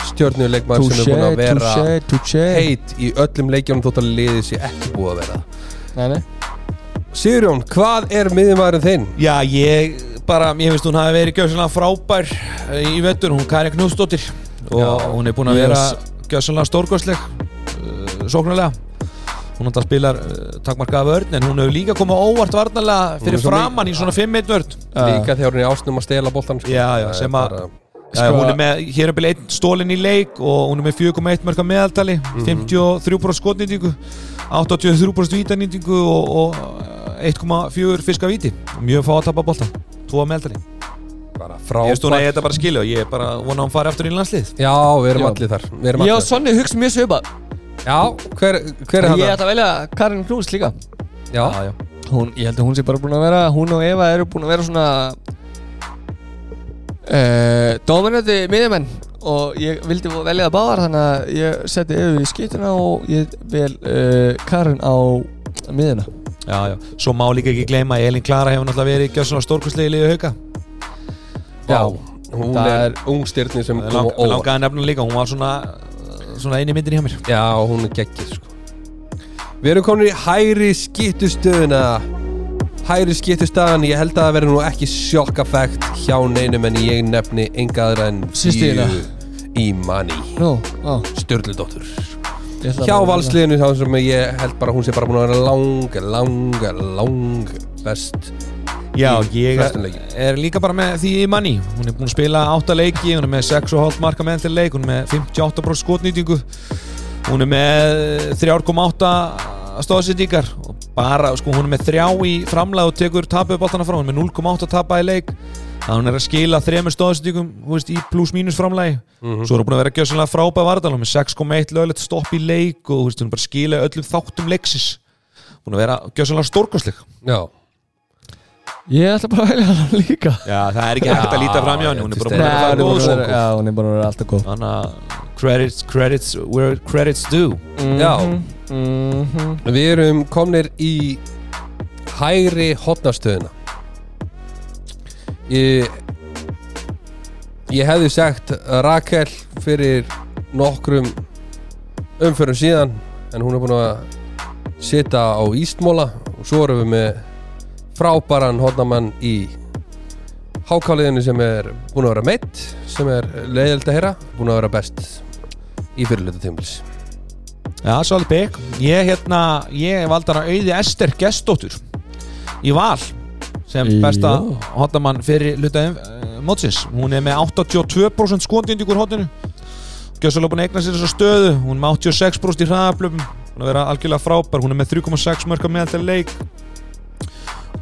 stjórnuleikmaður sem er búin að vera touché, touché. heit í öllum leikjónum þótt að liðið sé ekki búið að vera Nei, nei. Sigurjón, hvað er miðjumæðurinn þinn? já, ég bara, ég finnst hún hafi verið gjössalega frábær eh, í vettur hún Kari Knúsdóttir og Já. hún er búin að vera Yes. gjössalega stórgóðsleg uh, sóknarlega hún alltaf spilar uh, takmarkaða vörn en hún hefur líka komið á óvart varnarlega Hún er fyrir svo framann í svona 5-1 vörn Uh. Líka þegar hún er í ásnum að stela boltan sko. Já, já, Það er sem að- bara- Já, Sko- hún er með, hér er byrja einn stólinn í leik og hún er með 4,1 mörg að meðaltali Mhm. 53% skotnýtingu 83% vítanýtingu og, eh, og 1,4 fiska víti og mjög fá að tapa bolta 2 að meðaltali bara Ég veist hún að frábært ég þetta bara skilja og ég er bara vona að hún fari aftur í landslið Já, við erum Já. allir þar Við erum Ég og allir þar Sonni hugsa mjög svipað Já, hver, hver er Ég hann? ætla að velja Karin Knús líka Já, já. hún, ég held að hún sé bara búin að vera hún og Eva eru búin að vera svona uh, dominandi miðjumenn og ég vildi velja það báðar þannig að ég seti Evu í skýtuna og ég vel uh, Karin á miðjuna já, já. Svo má líka ekki gleyma að Elin Klara hefur náttúrulega verið gjössan á stórkvæslegi liðu hauka Já, hún Það er ungstyrni sem Lang- kom á langaði óvart að nefna líka, hún var svona svona eini myndin hjá mér Já, hún er geggir sko. Við erum komin í hæri skittustöðuna Hæri skittustagan Ég held að það verður nú ekki sjokkafekt hjá neinum en ég nefni engaðra en Systina. í manni Nú, á, Sturludóttur ég ætla Hjá bara að- valsliðinu þá sem ég held bara að hún sé bara búin að vera lang, lang, lang best Já, Í ég flestum leikjum. er líka bara með því í manni hún er búin að spila 8 leiki, hún er með 6,5 marka með til leik, hún er með 58% skotnýtingu hún er með 3,8 stóðsendingar og bara, sko, hún er með 3 í framlega og tekur tapu upp frá, hún er með 0,8 tapa í leik þannig að hún er að skila 3 stóðsendingum, þú veist, í pluss mínus framlega svo er hún búin að vera að gjöra sannlega frábæð varðan með 6,1 lögulegt stopp í leik og þú veist, hún er bara að skila öllum þáttum leiksins búin að vera að gjöra sannlega stórkosleg Já, Ég ætla bara að velja hann líka Já, það er ekki hægt að líta fram hjá henni, hún er bara búin að Nei, vera hún er góð búin svo vera- Já, hún er bara að vera alltaf góð Þannig að credits, credits where credits due já mm -hmm. Við erum komnir í hægri hotnastöðuna ég, ég hefði sagt Rakel fyrir nokkrum umförum síðan en hún er búin að sita á Ístmóla og svo erum við með frábæran hotnamann í hákáliðinu sem er búin að vera meitt sem er leiðild að heyra búin að vera best í fyrirlutu tímlis Já, svolítið bygg Ég hérna, ég valdi hana auði Ester Gestóttur í val sem besta Jó. hotamann fyrir hluta uh, mótsins Hún er með 82% skondindi úr hotinu Gjössalega búin að eigna sér þessa stöðu Hún er með 86% í hraðaflöfum Hún er að vera algjörlega frábær Hún er með 3,6 mörka meðal til leik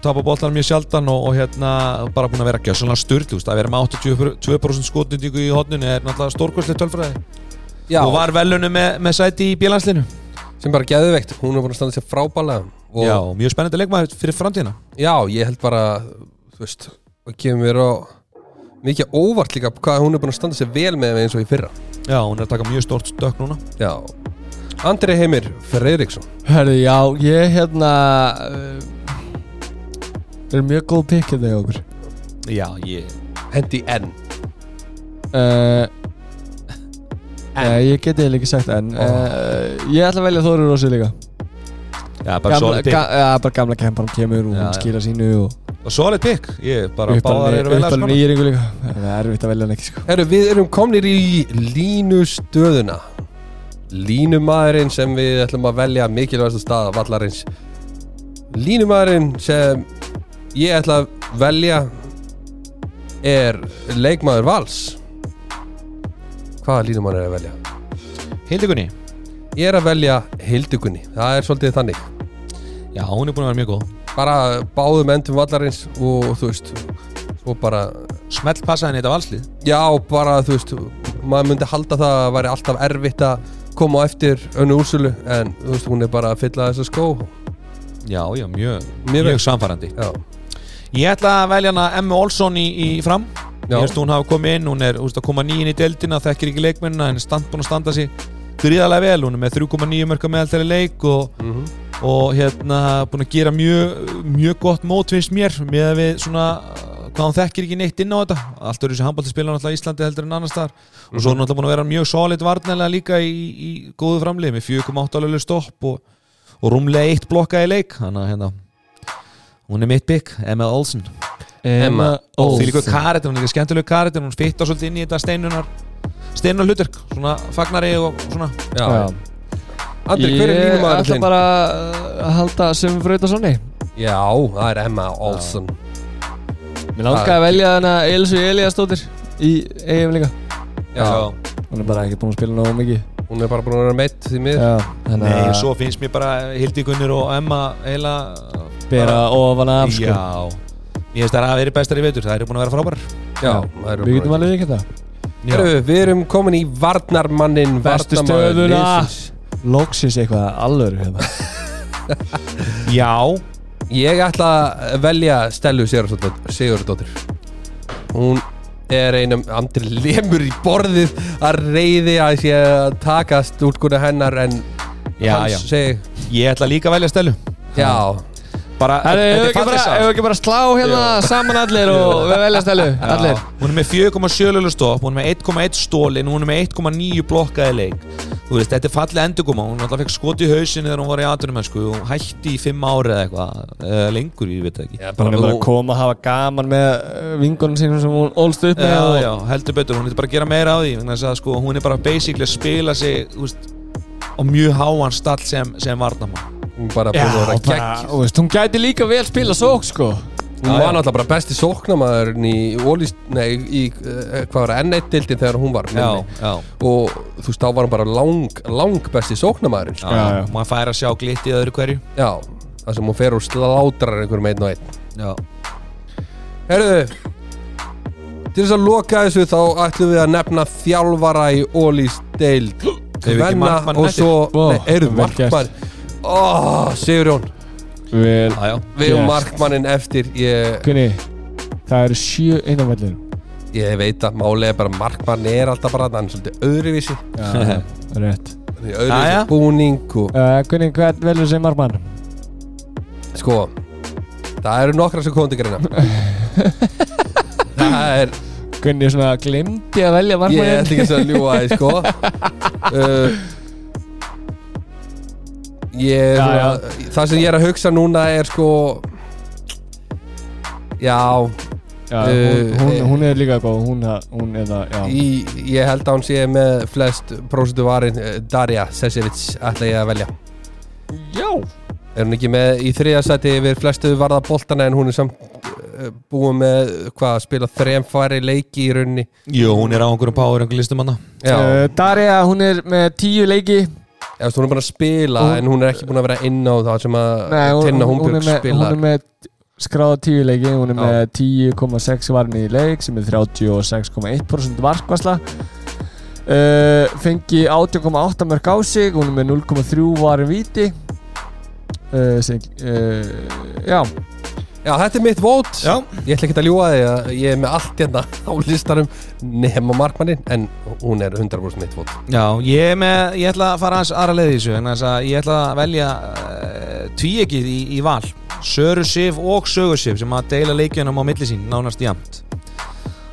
tapa bollar mjög sjaldan og, og hérna bara búin að vera gjössalega styrlu að vera með 82% skotnýtingu í hotninu er náttúrulega stórkvæslega tölfræði Já, og var velunum með, með sæti í bílanslinu sem bara geðveikt, hún er búin að standa sér frábælega og Já, já. mjög spennandi leikmaður fyrir framtíðina ég held bara þú veist, það kemur mér á mikið óvart líka hvað hún er búin að standa sér vel með eins og í fyrra Já, hún er að taka mjög stort stökk núna já. Andri Heimir Freyriksson Hörðu, já, ég hérna uh, Það er mjög góð pikk hérna hjá okkur Já, ég hendi enn uh, Nei, eh, ég geti eiginlega ekki sagt en uh, Ég ætla að velja Þóru Rósi líka Já, bara solid ga, pick ja, bara gamla kempan kemur og Já, hún já. skila sínu og Solid pick, ég bara báðar eru vel að uppalinn skona íringu líka Það er erfitt að velja hann ekki sko Heru, við erum komnir í línustöðuna línumadurinn sem við ætlum að velja mikilvægast stað vallarins línumadurinn sem ég ætla að velja er leikmaður vals hvaða línumadur er að velja? Hildikunni Ég er að velja Hildugunni, það er svolítið þannig Já, hún er búin að vera mjög góð bara báðum endum vallarins og þú veist og bara, Smell passa henni í þetta valslið já bara þú veist maður myndi halda það að það væri alltaf erfitt að koma á eftir önnu úrsölu en þú veist hún er bara að fylla þessa skó Já, já, mjög, Mjög mjög, vel. samfærandi já, Ég ætla að velja hana Emma Olsson í, í fram já, Ég veist hún hafa komið inn, hún er úst, að koma nýinn í deildina þekkir ekki leikmennina, en er stand, búin að standa sér gríðarlega vel, hún er með 3,9 mörka meðaltæri leik og mhm, og hérna búin að gera mjög mjög gott mót finnst mér með að við svona uh, hvað hann þekkir ekki neitt inn á þetta allt eru þessi handbóltaspilur náttúrulega í Íslandi heldur en annars þar og Mhm. svo er hann náttúrulega búin að vera mjög solid varnarlega líka í, í góðu framlið með 4,8 löglu stopp og, og rúmlega eitt blokka í leik hann að hérna hún er mitt bygg, Emma Olsen Emma og Olsen. því líka karættir, hún er líka skemmtileg karættir hún fittar svolítið inn í þetta steinunar steinunar hlutverk, svona fagnari og svona já. Já. Andri, hver er Ég línumaður ætla þinn? bara að halda sem fröta sonni Já, það er Emma Olsen Mér langaði að velja hana Elsu Eliasdóttir í EM líka já. Hún er bara ekki búin að spila nógu mikið hún er bara búin að vera meitt því miður Já, þannig Nei, að svo finnst mér bara Hildigunnur og Emma eiginlega bera ofan af sko Já Ég veist það að verið bestar í veitur, það eru búin að vera frábærar já, það eru Við bara- getum alveg ekki þetta Heru, Við erum komin í varnarmannin Bestu varnarmaður stöðuna. liðsins. Loksins eitthvað alvöru hérna Já, Ég ætla að velja Stellu Sigurðardóttir Sigurðardóttir. Hún er einum andri lemur í borðið að reyði að sé að takast útguna hennar en Já, hans já. segi Ég ætla líka að velja stelu Já, Bara, (laughs) Herru, ef þetta er ekki bara, falleg saga. ef ekki bara slá hérna saman allir og við velja stelu allir Já. Hún er með 4,7 lölu stopp Hún er með 1,1 stólin Hún er með 1,9 blokkaði leik Þú veist, þetta er fallið endurkoma Hún alltaf fekk skot í hausinu þegar hún var í atvinnumennsku Hún hætti í 5 ári eða eitthvað eða Lengur, ég veit það ekki já Hún er bara að þú- koma að hafa gaman með uh, vingunum sínum sem hún ólst upp með Já, og- já, heldur betur, hún er bara að gera meira á því vegna þess að sko, hún er bara basically að spila sig þú veist, á mjög háan stall sem, sem varnamann hún bara Já, búin að vera og bara, gegn þú veist, hún gæti líka vel spila sók sko Hún Já, var já. náttúrulega bara besti sóknamaðurinn í Ólís, nei, í eh, hvað var N1-dildin þegar hún var Já, minni. já, og þú veist, þá var hún bara lang, lang besti sóknamaðurinn já, sko. Já, já. maður fær að sjá glitt í öðru hverju Já, það sem hún fer og slátrar einhverjum einn og einn Já, Herðu Til þess að loka þessu þá ætlum við að nefna þjálfara í Ólís deild ekki Kvenna markmann og eftir? svo, Vá, nei, eru vel gert. markmann Ó, Sigurjón, Vel já, já við Gert. yes. markmannin eftir ég, Gunni, það eru sjö innanvellir ég veit að málega bara markmann er alltaf bara hann er svolítið öðruvísi (laughs) Já, rétt Hann er í Jæja. öðruvísi búning og uh, Gunni, hvað velur sem marmann? Sko Það eru nokkra sem komum til greina Það er Gunni svona glimti að velja Ég ætla marmann ekki að (laughs) ljúa þið sko uh, Ég er Já, svona, Það sem ég er að hugsa núna er sko Já já, hún, Uh, hún, hún er líka góð hún, hún er það, já í, Ég held að hún sé með flest prósentu varin eh, Darja Sesevits ætla ég að velja Já Er hún ekki með í þriða sæti yfir flestu varða boltana en hún er samt eh, búin með hvað að spila þremfæri leiki í rauninni Jú, hún er á einhverjum power, einhverjum listum hana Já, uh, Darja, hún er með tíu leiki eða þú veist, hún er bara að spila Hún- en hún er ekki búin að vera inn á það sem að Nei, hún, Tinna hún, hún, er Húnbjörg með, hún spilar er með skráða tíu leiki hún er Já. með 10,6 varni í leik sem er 36,1% varkvasla uh, fengi 18,8 mörg á sig hún er með 0,3 varin viti uh, sem, uh, já, Já, þetta er mitt vót Já, Ég ætla ekki að ljúa því að ég er með allt hérna á listanum nema markmannin en hún er 100% mitt vót já, ég er með, ég ætla að fara aðeins aðra leið í þessu vegna þess að ég ætla að velja uh, tvíegið í, í val Söru Sif og Sögu Sif sem að deila leikjunum á milli sín, nánast jæmt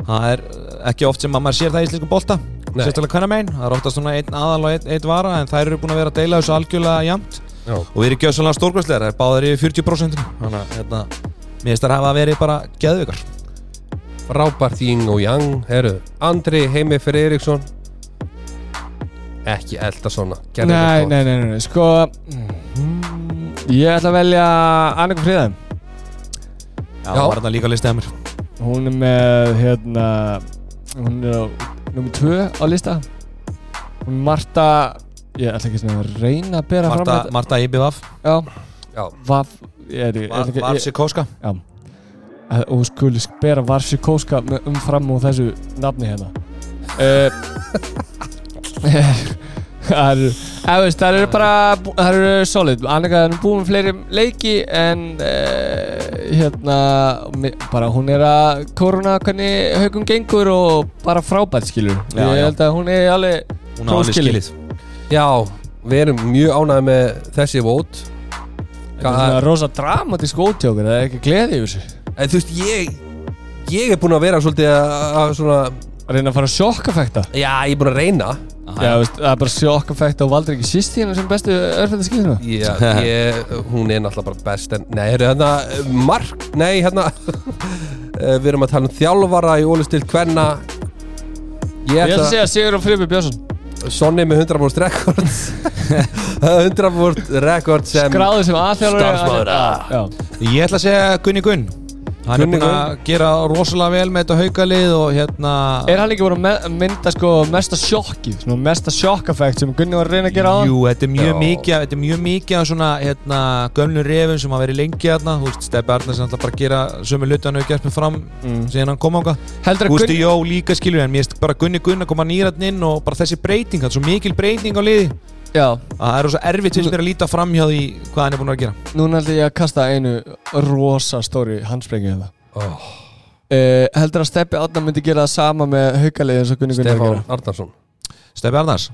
Það er eh, ekki oft sem að maður sér það í íslensku bolta Nei. sérstaklega hvernig megin, það er oftast svona einn aðal og einn, einn vara en þær eru búin að vera að deila þessu algjörlega jæmt Já. og við erum gjössalega stórkvæslegar, það er báðar yfir 40% þannig að hérna, mér finnst þær hafa verið bara geðvikar Rábart Ying og Yang Heru, Andri Heimi fyrir Eriksson Ekki elda svona Gerðu nei, þetta nei, nei, nei, nei, sko mm, ég ætla að velja Annika Friðheim Já, Já. það var þetta líka listið að mér hún er með hérna, hún er á nummer 2 á lista hún er Marta ég ætla ekki svona að reyna að bera Marta, fram Marta Íbivaf, þetta já, Já, vaf ég er, ég, ætla ekki, ég, Varsikóska að hún skuli bera Varsjikóska með umfram og þessu nafni hérna Eh, (laughs) það eru það veist, það eru bara bú- það eru solid, Annika er búin með fleiri leiki en uh, hérna mi- bara hún er að koruna hvernig haugum gengur og bara frábært skilur Já, ég já. held að hún er alveg Hún á alveg Prófskilið. skilið já við erum mjög ánægð með þessi vót Þetta er svona rosa dramatísk ótjókur, það er ekki gleði yfir þessu En þú veist, ég Ég er búin að vera svolítið að að svona að reyna að fara sjokkafækta Já, ég er búin að reyna Já, veist, það er bara sjokkafækta og valdur ekki síst hérna sem bestu örfættaskýðina Já, ég, hún er náttúrulega bara best en, Nei, heyrðu, hérna Mark, nei, hérna (laughs) eh, Við erum að tala um þjálfara í ólistil Hvenna Ég Ég ætla að ætla segja Sigur og Friðbjörn Björnsson Sonni með 100% rekord (laughs) 100% rekord sem Skráður sem aðþjálfur Starfsmaður, Já, Ég ætla að segja Gunni Gunn Hann Gunni er búin að gera rosalega vel með þetta haukalið og hérna Er hann ekki voru að me- mynda sko mesta sjokkið Svona mesta sjokkafækt sem Gunni var að reyna að gera á Jú, þetta er mjög Já. mikið Þetta er mjög mikið af svona hérna, gömlu refum sem hafa verið lengi hérna Þú veist, Steppi Arnar sem ætla bara að gera sömu hluti hann hefur gert með fram Mm. síðan hann kom ánga Heldur Þú að veist, Gunni jó, líka skilur en mér veist bara Gunni Gunn að koma nýratn inn og bara þessi breyting, það er svo mikil breyting á liði Já, að það er svo erfitt finnst mér að líta fram hjá því hvað hann er búin að gera núna ætla ég að kasta einu rosa stóri handsprengi hérna oh, uh, Heldur að Steppi Átna myndi gera það sama með haukalið eins og Gunni Gunnar Stefán gera Arnarsson Steffi Arnars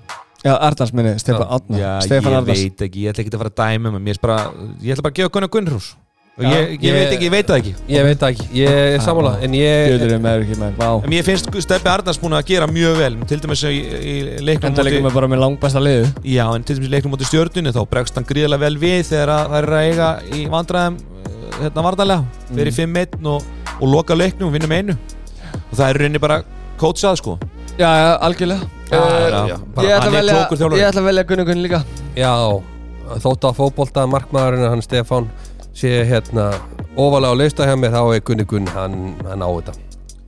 Já, Arnars minni, Steppi Átna Stefán ég Arnars veit ekki, ég ætla ekki að fara að dæma um ég, bara, ég ætla bara að gefa Gunnar Gunnrús og Já, ég, ég, ég- veit ekki, ég veit það ekki Ég veit það ekki, ég Ah, er sammála En ég, Gjöður er meður ekki menn Vá en ég finnst Steffi Arnars búin að gera mjög vel til dæmis í, í leiknum Enda leikum móti við bara með langbæsta liðu já, en til dæmis í leiknum móti stjörnunni þá bregst hann gríðlega vel við þegar að það er að eiga í vandræðum eh, hérna vartalega, Mm. fyrir 5-1 og, og loka leiknum og vinnum einu og það er í rauninni bara kótsað sko Já, já, algjörlega Eh, já, bara, Ég ætla hann að er velja- klókur þjálfari ég ætla að velja Gunni Gunn líka já, þótt að fótbolta markmaðurinn hann Stefán sé hérna ofalega á leista hjá mér þá er Gunni Gunn, hann, hann á þetta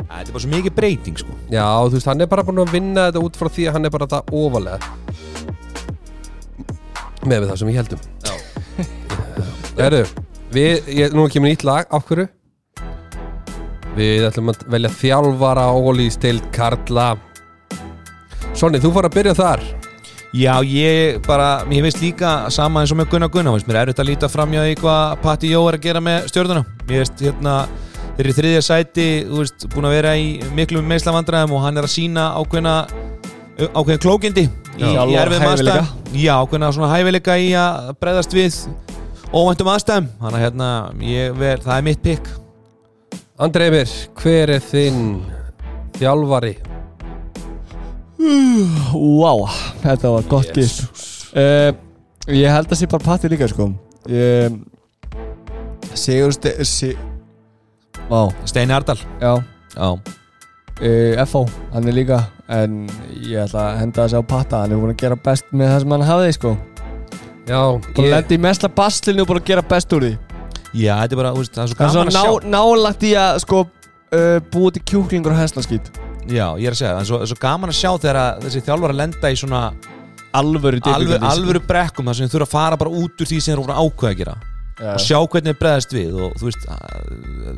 Þetta er bara svo mikið breyting sko Já, þú veist, hann er bara búin að vinna þetta út frá því að hann er bara það ofalega með við það sem ég heldum (laughs) Já Herðu, við, ég, nú kemur nýtt lag, af hverju? Við ætlum að velja þjálfara ólýstild Karla Sonni, þú fór að byrja þar Já, ég bara, ég veist líka sama eins og með Gunnar Gunnar, veist, mér er auðvitað að líta framjá því hvað Patti Jó er að gera með stjórnuna Mér veist, hérna, þeir eru í þriðja sæti, þú veist, búin að vera í miklum meðslavandræðum og hann er að sína ákveðna, ákveðin klókindi í, Já, í erfiðum hæfileika. aðstæðum Já, ákveðna svona hæfileika í að bregðast við óvæntum aðstæðum Þannig að hérna, ég ver, það er mitt pikk Andrei Mir, hver er þinn þjálfari? Vá, þetta var gott gist uh, Ég held að sé bara patti líka sko ég, Sigur Ste... Si, vá, Steini Ardal já Já, uh, F.O. hann er líka En ég ætla að henda þessi á patta Hann er búin að gera best með það sem hann hafði sko Já, Búin að lenda í mestla baslinu og búin að gera best úr því já, þetta er bara, þú veist, það er svo Það er gaman svona að sjá ná, nálagt í að sko uh, Búið til kjúklingur og hesslaskýt Já, ég er að segja, það er svo, svo gaman að sjá þegar að þessi þjálfar að lenda í svona Alvöru alvöru, difficulties. alvöru brekkum þar sem þau þurfa að fara bara út úr því sem þeir voru ákveða að gera Já. og sjá hvernig þeir bregðast við og þú veist,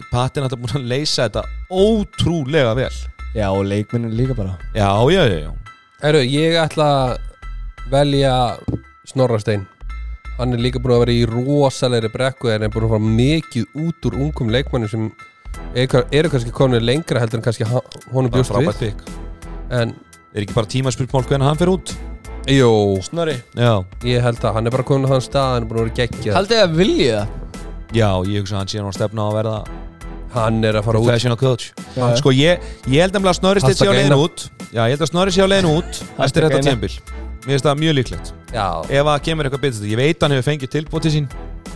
Patti er náttúrulega búin að leysa þetta ótrúlega vel Já, og leikminni líka bara Já, já, já, já Herru, ég ætla að velja Snorrastein Hann er líka búin að vera í rosalegri brekku en er búin að fara mikið út úr ungum leikmannum sem eru, eru kannski komin lengra heldur en kannski ha- honum Bara bjóst við frábært pikk en Er ekki bara tímaspurmál hvernig hann fer út? jú, Snorri Já, ég held að hann er bara komin á þann stað hann er búin að vera geggjað Haldið að viljið það? já, ég hugsa að hann sé nú að stefna á að verða hann er að fara út professional coach Já. Sko, ég, ég held nefnilega að Snorri Steinn sé á Hashtag leiðin eina. út Já, ég held að Snorri sé á leiðin út eftir Hashtag þetta eina. tímbil Mér finnst það mjög líklegt já, Ef að kemur eitthvað betur, ég veit hann hefur fengið tilbúið til sín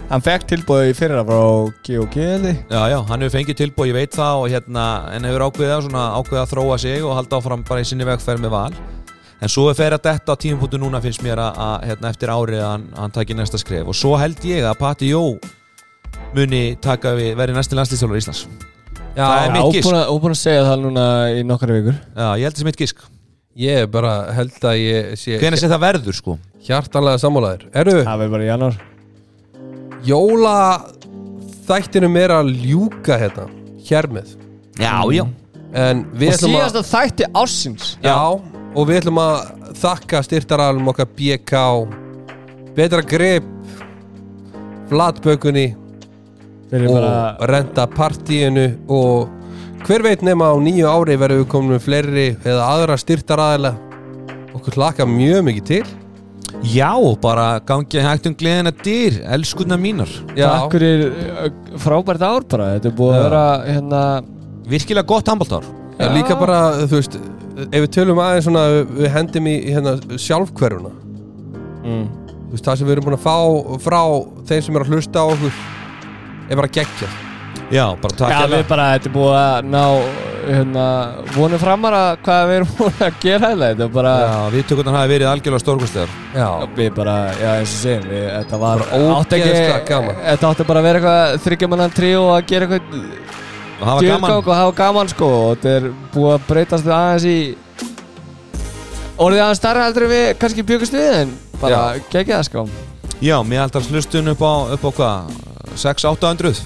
Hann fekk tilbúið í fyrra frá G&G eða því? Já, já, hann hefur fengið tilbúið, ég veit það og hérna, en hefur ákveðið, svona, ákveðið að þróa sig og halda áfram bara í sinni vegferð með val en svo er fyrir að detta á tímapunktu núna finnst mér að, að hérna, eftir árið að hann, hann taki næsta skref og svo held ég að Patti Jó muni taka við verið næsti landslýstjálfur Íslands Það er já mitt gísk. Óbúin að, óbúin að segja það núna í nokkara vikur Já, ég held þessi mitt gísk ég er bara held að ég sé Hvernig sem það verður, sko hjartanlega sammálaður Herru, Það verður bara í januar jóla þættinum er að ljúka hérna, hér með Já, já en við Og ætlum að síðast að þætti ársins Já, og við ætlum að þakka styrtaralum okkar BK Betra Grip Flatbökunni Fyrir og bara Renta Partíinu og hver veit nema á nýju ári verðum við komin með fleiri eða aðra styrtaraðila okkur hlaka mjög mikið til Já, bara gangi hægt um gleðina dyr, elskunna mínar Já, Takk fyrir uh, frábært ár bara Þetta er búið að vera hérna Virkilega gott handbóltár Já, líka bara, þú veist ef við tölum aðeins svona við- við hendum í hérna, sjálfhverfuna mm. þú veist, það sem við erum búin að fá frá þeim sem eru að hlusta á okkur er bara geggjað Já, bara Já, takk við hérna. hérlega. bara, þetta er búið að ná hérna, vonum framar að hvað við erum búin að gera þetta Þetta er bara Já, viðtökurnar hafi verið algjörlega stórkostlegar Já, Við bara, já eins og segjum við, Þetta var Bara átti ekki- ógeðslega gaman. Þetta átti bara að vera eitthvað þryggjamannan trí og að gera eitthvað Og hafa gaman djurgang og hafa gaman sko og þetta er búið að breytast aðeins í orðið aðeins starra heldur en við kannski byggust við en bara geggja það sko Já, mér haldar slustun upp á, upp á hvað? 6-800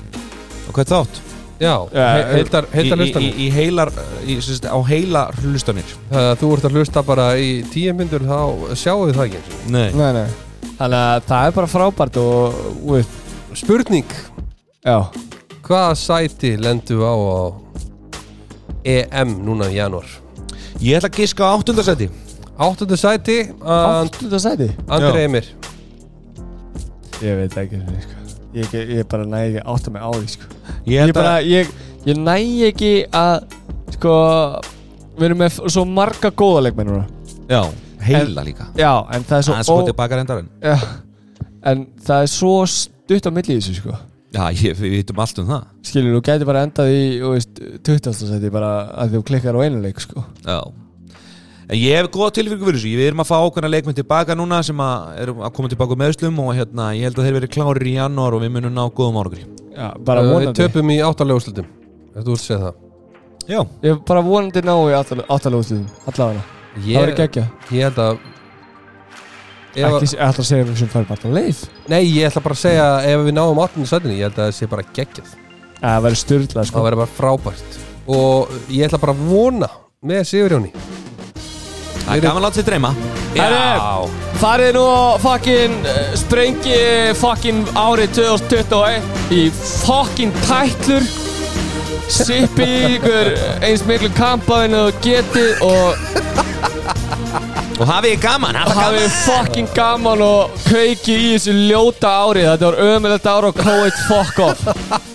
og hvað er þátt? Já, Já, heildar í, í, hlustanir í heilar, í, sérst, á heila hlustanir Þegar þú ert að hlusta bara í tíu myndur þá sjáum við það ekki Nei. Nei, nei Þannig að það er bara frábært og við, Spurning, já, hvaða sæti lendu á á EM núna í janúar? Ég ætla að giska á áttundasæti Áttundu sæti, And- áttu þetta sæti Andri Emir Ég veit ekki hvernig, sko Ég, ég, ég bara næ ekki átta mig á því, sko Ég Ég held bara, að ég, ég næ ekki að, sko Við erum með svo marga góða leikmenn núna já, heila líka Já, en það er Það svo er sko tilbaka reyndar en já, En það er svo stutt á milli í þessu, sko Já, ég, við vitum allt um það Skilur, þú gæti bara endað í, þú veist, 20. sæti bara að þú klikkar á einu leik, sko Já En ég hef góða tilfengu fyrir þessu, við erum að fá ákveðna leikmenn tilbaka núna sem að eru að koma tilbaka með öslum og hérna, ég held að þeir verið klárir í janúar og við munum ná góðum árangri Já, Uh, bara Við vonandi töpum í áttalegu úrslitum Þetta þú ert að segja það Já, Ég er bara vonandi ná í áttalega útlutum Allavega Það verður Ég, geggja ég held að ef, Ekki s- ætla að segja mér sem fær bara alltaf leið Nei, ég ætla bara að segja að ef við náum áttundu sætinu, ég held að það sé bara geggjað Að Það verður styrla sko Það verður bara frábært Og ég ætla bara að vona með Sigurjóni það er gaman að láta sér dreyma Herru, farið nú og fucking eh, sprengi fucking árið 2021 í fucking tætlur Sippi í ykkur eins miklu kampaðin og getið og Og hafið ég gaman, hafið gaman hafið fucking gaman og kveikið í þessu ljóta árið Þetta var ömulegt ár og kóið fuck off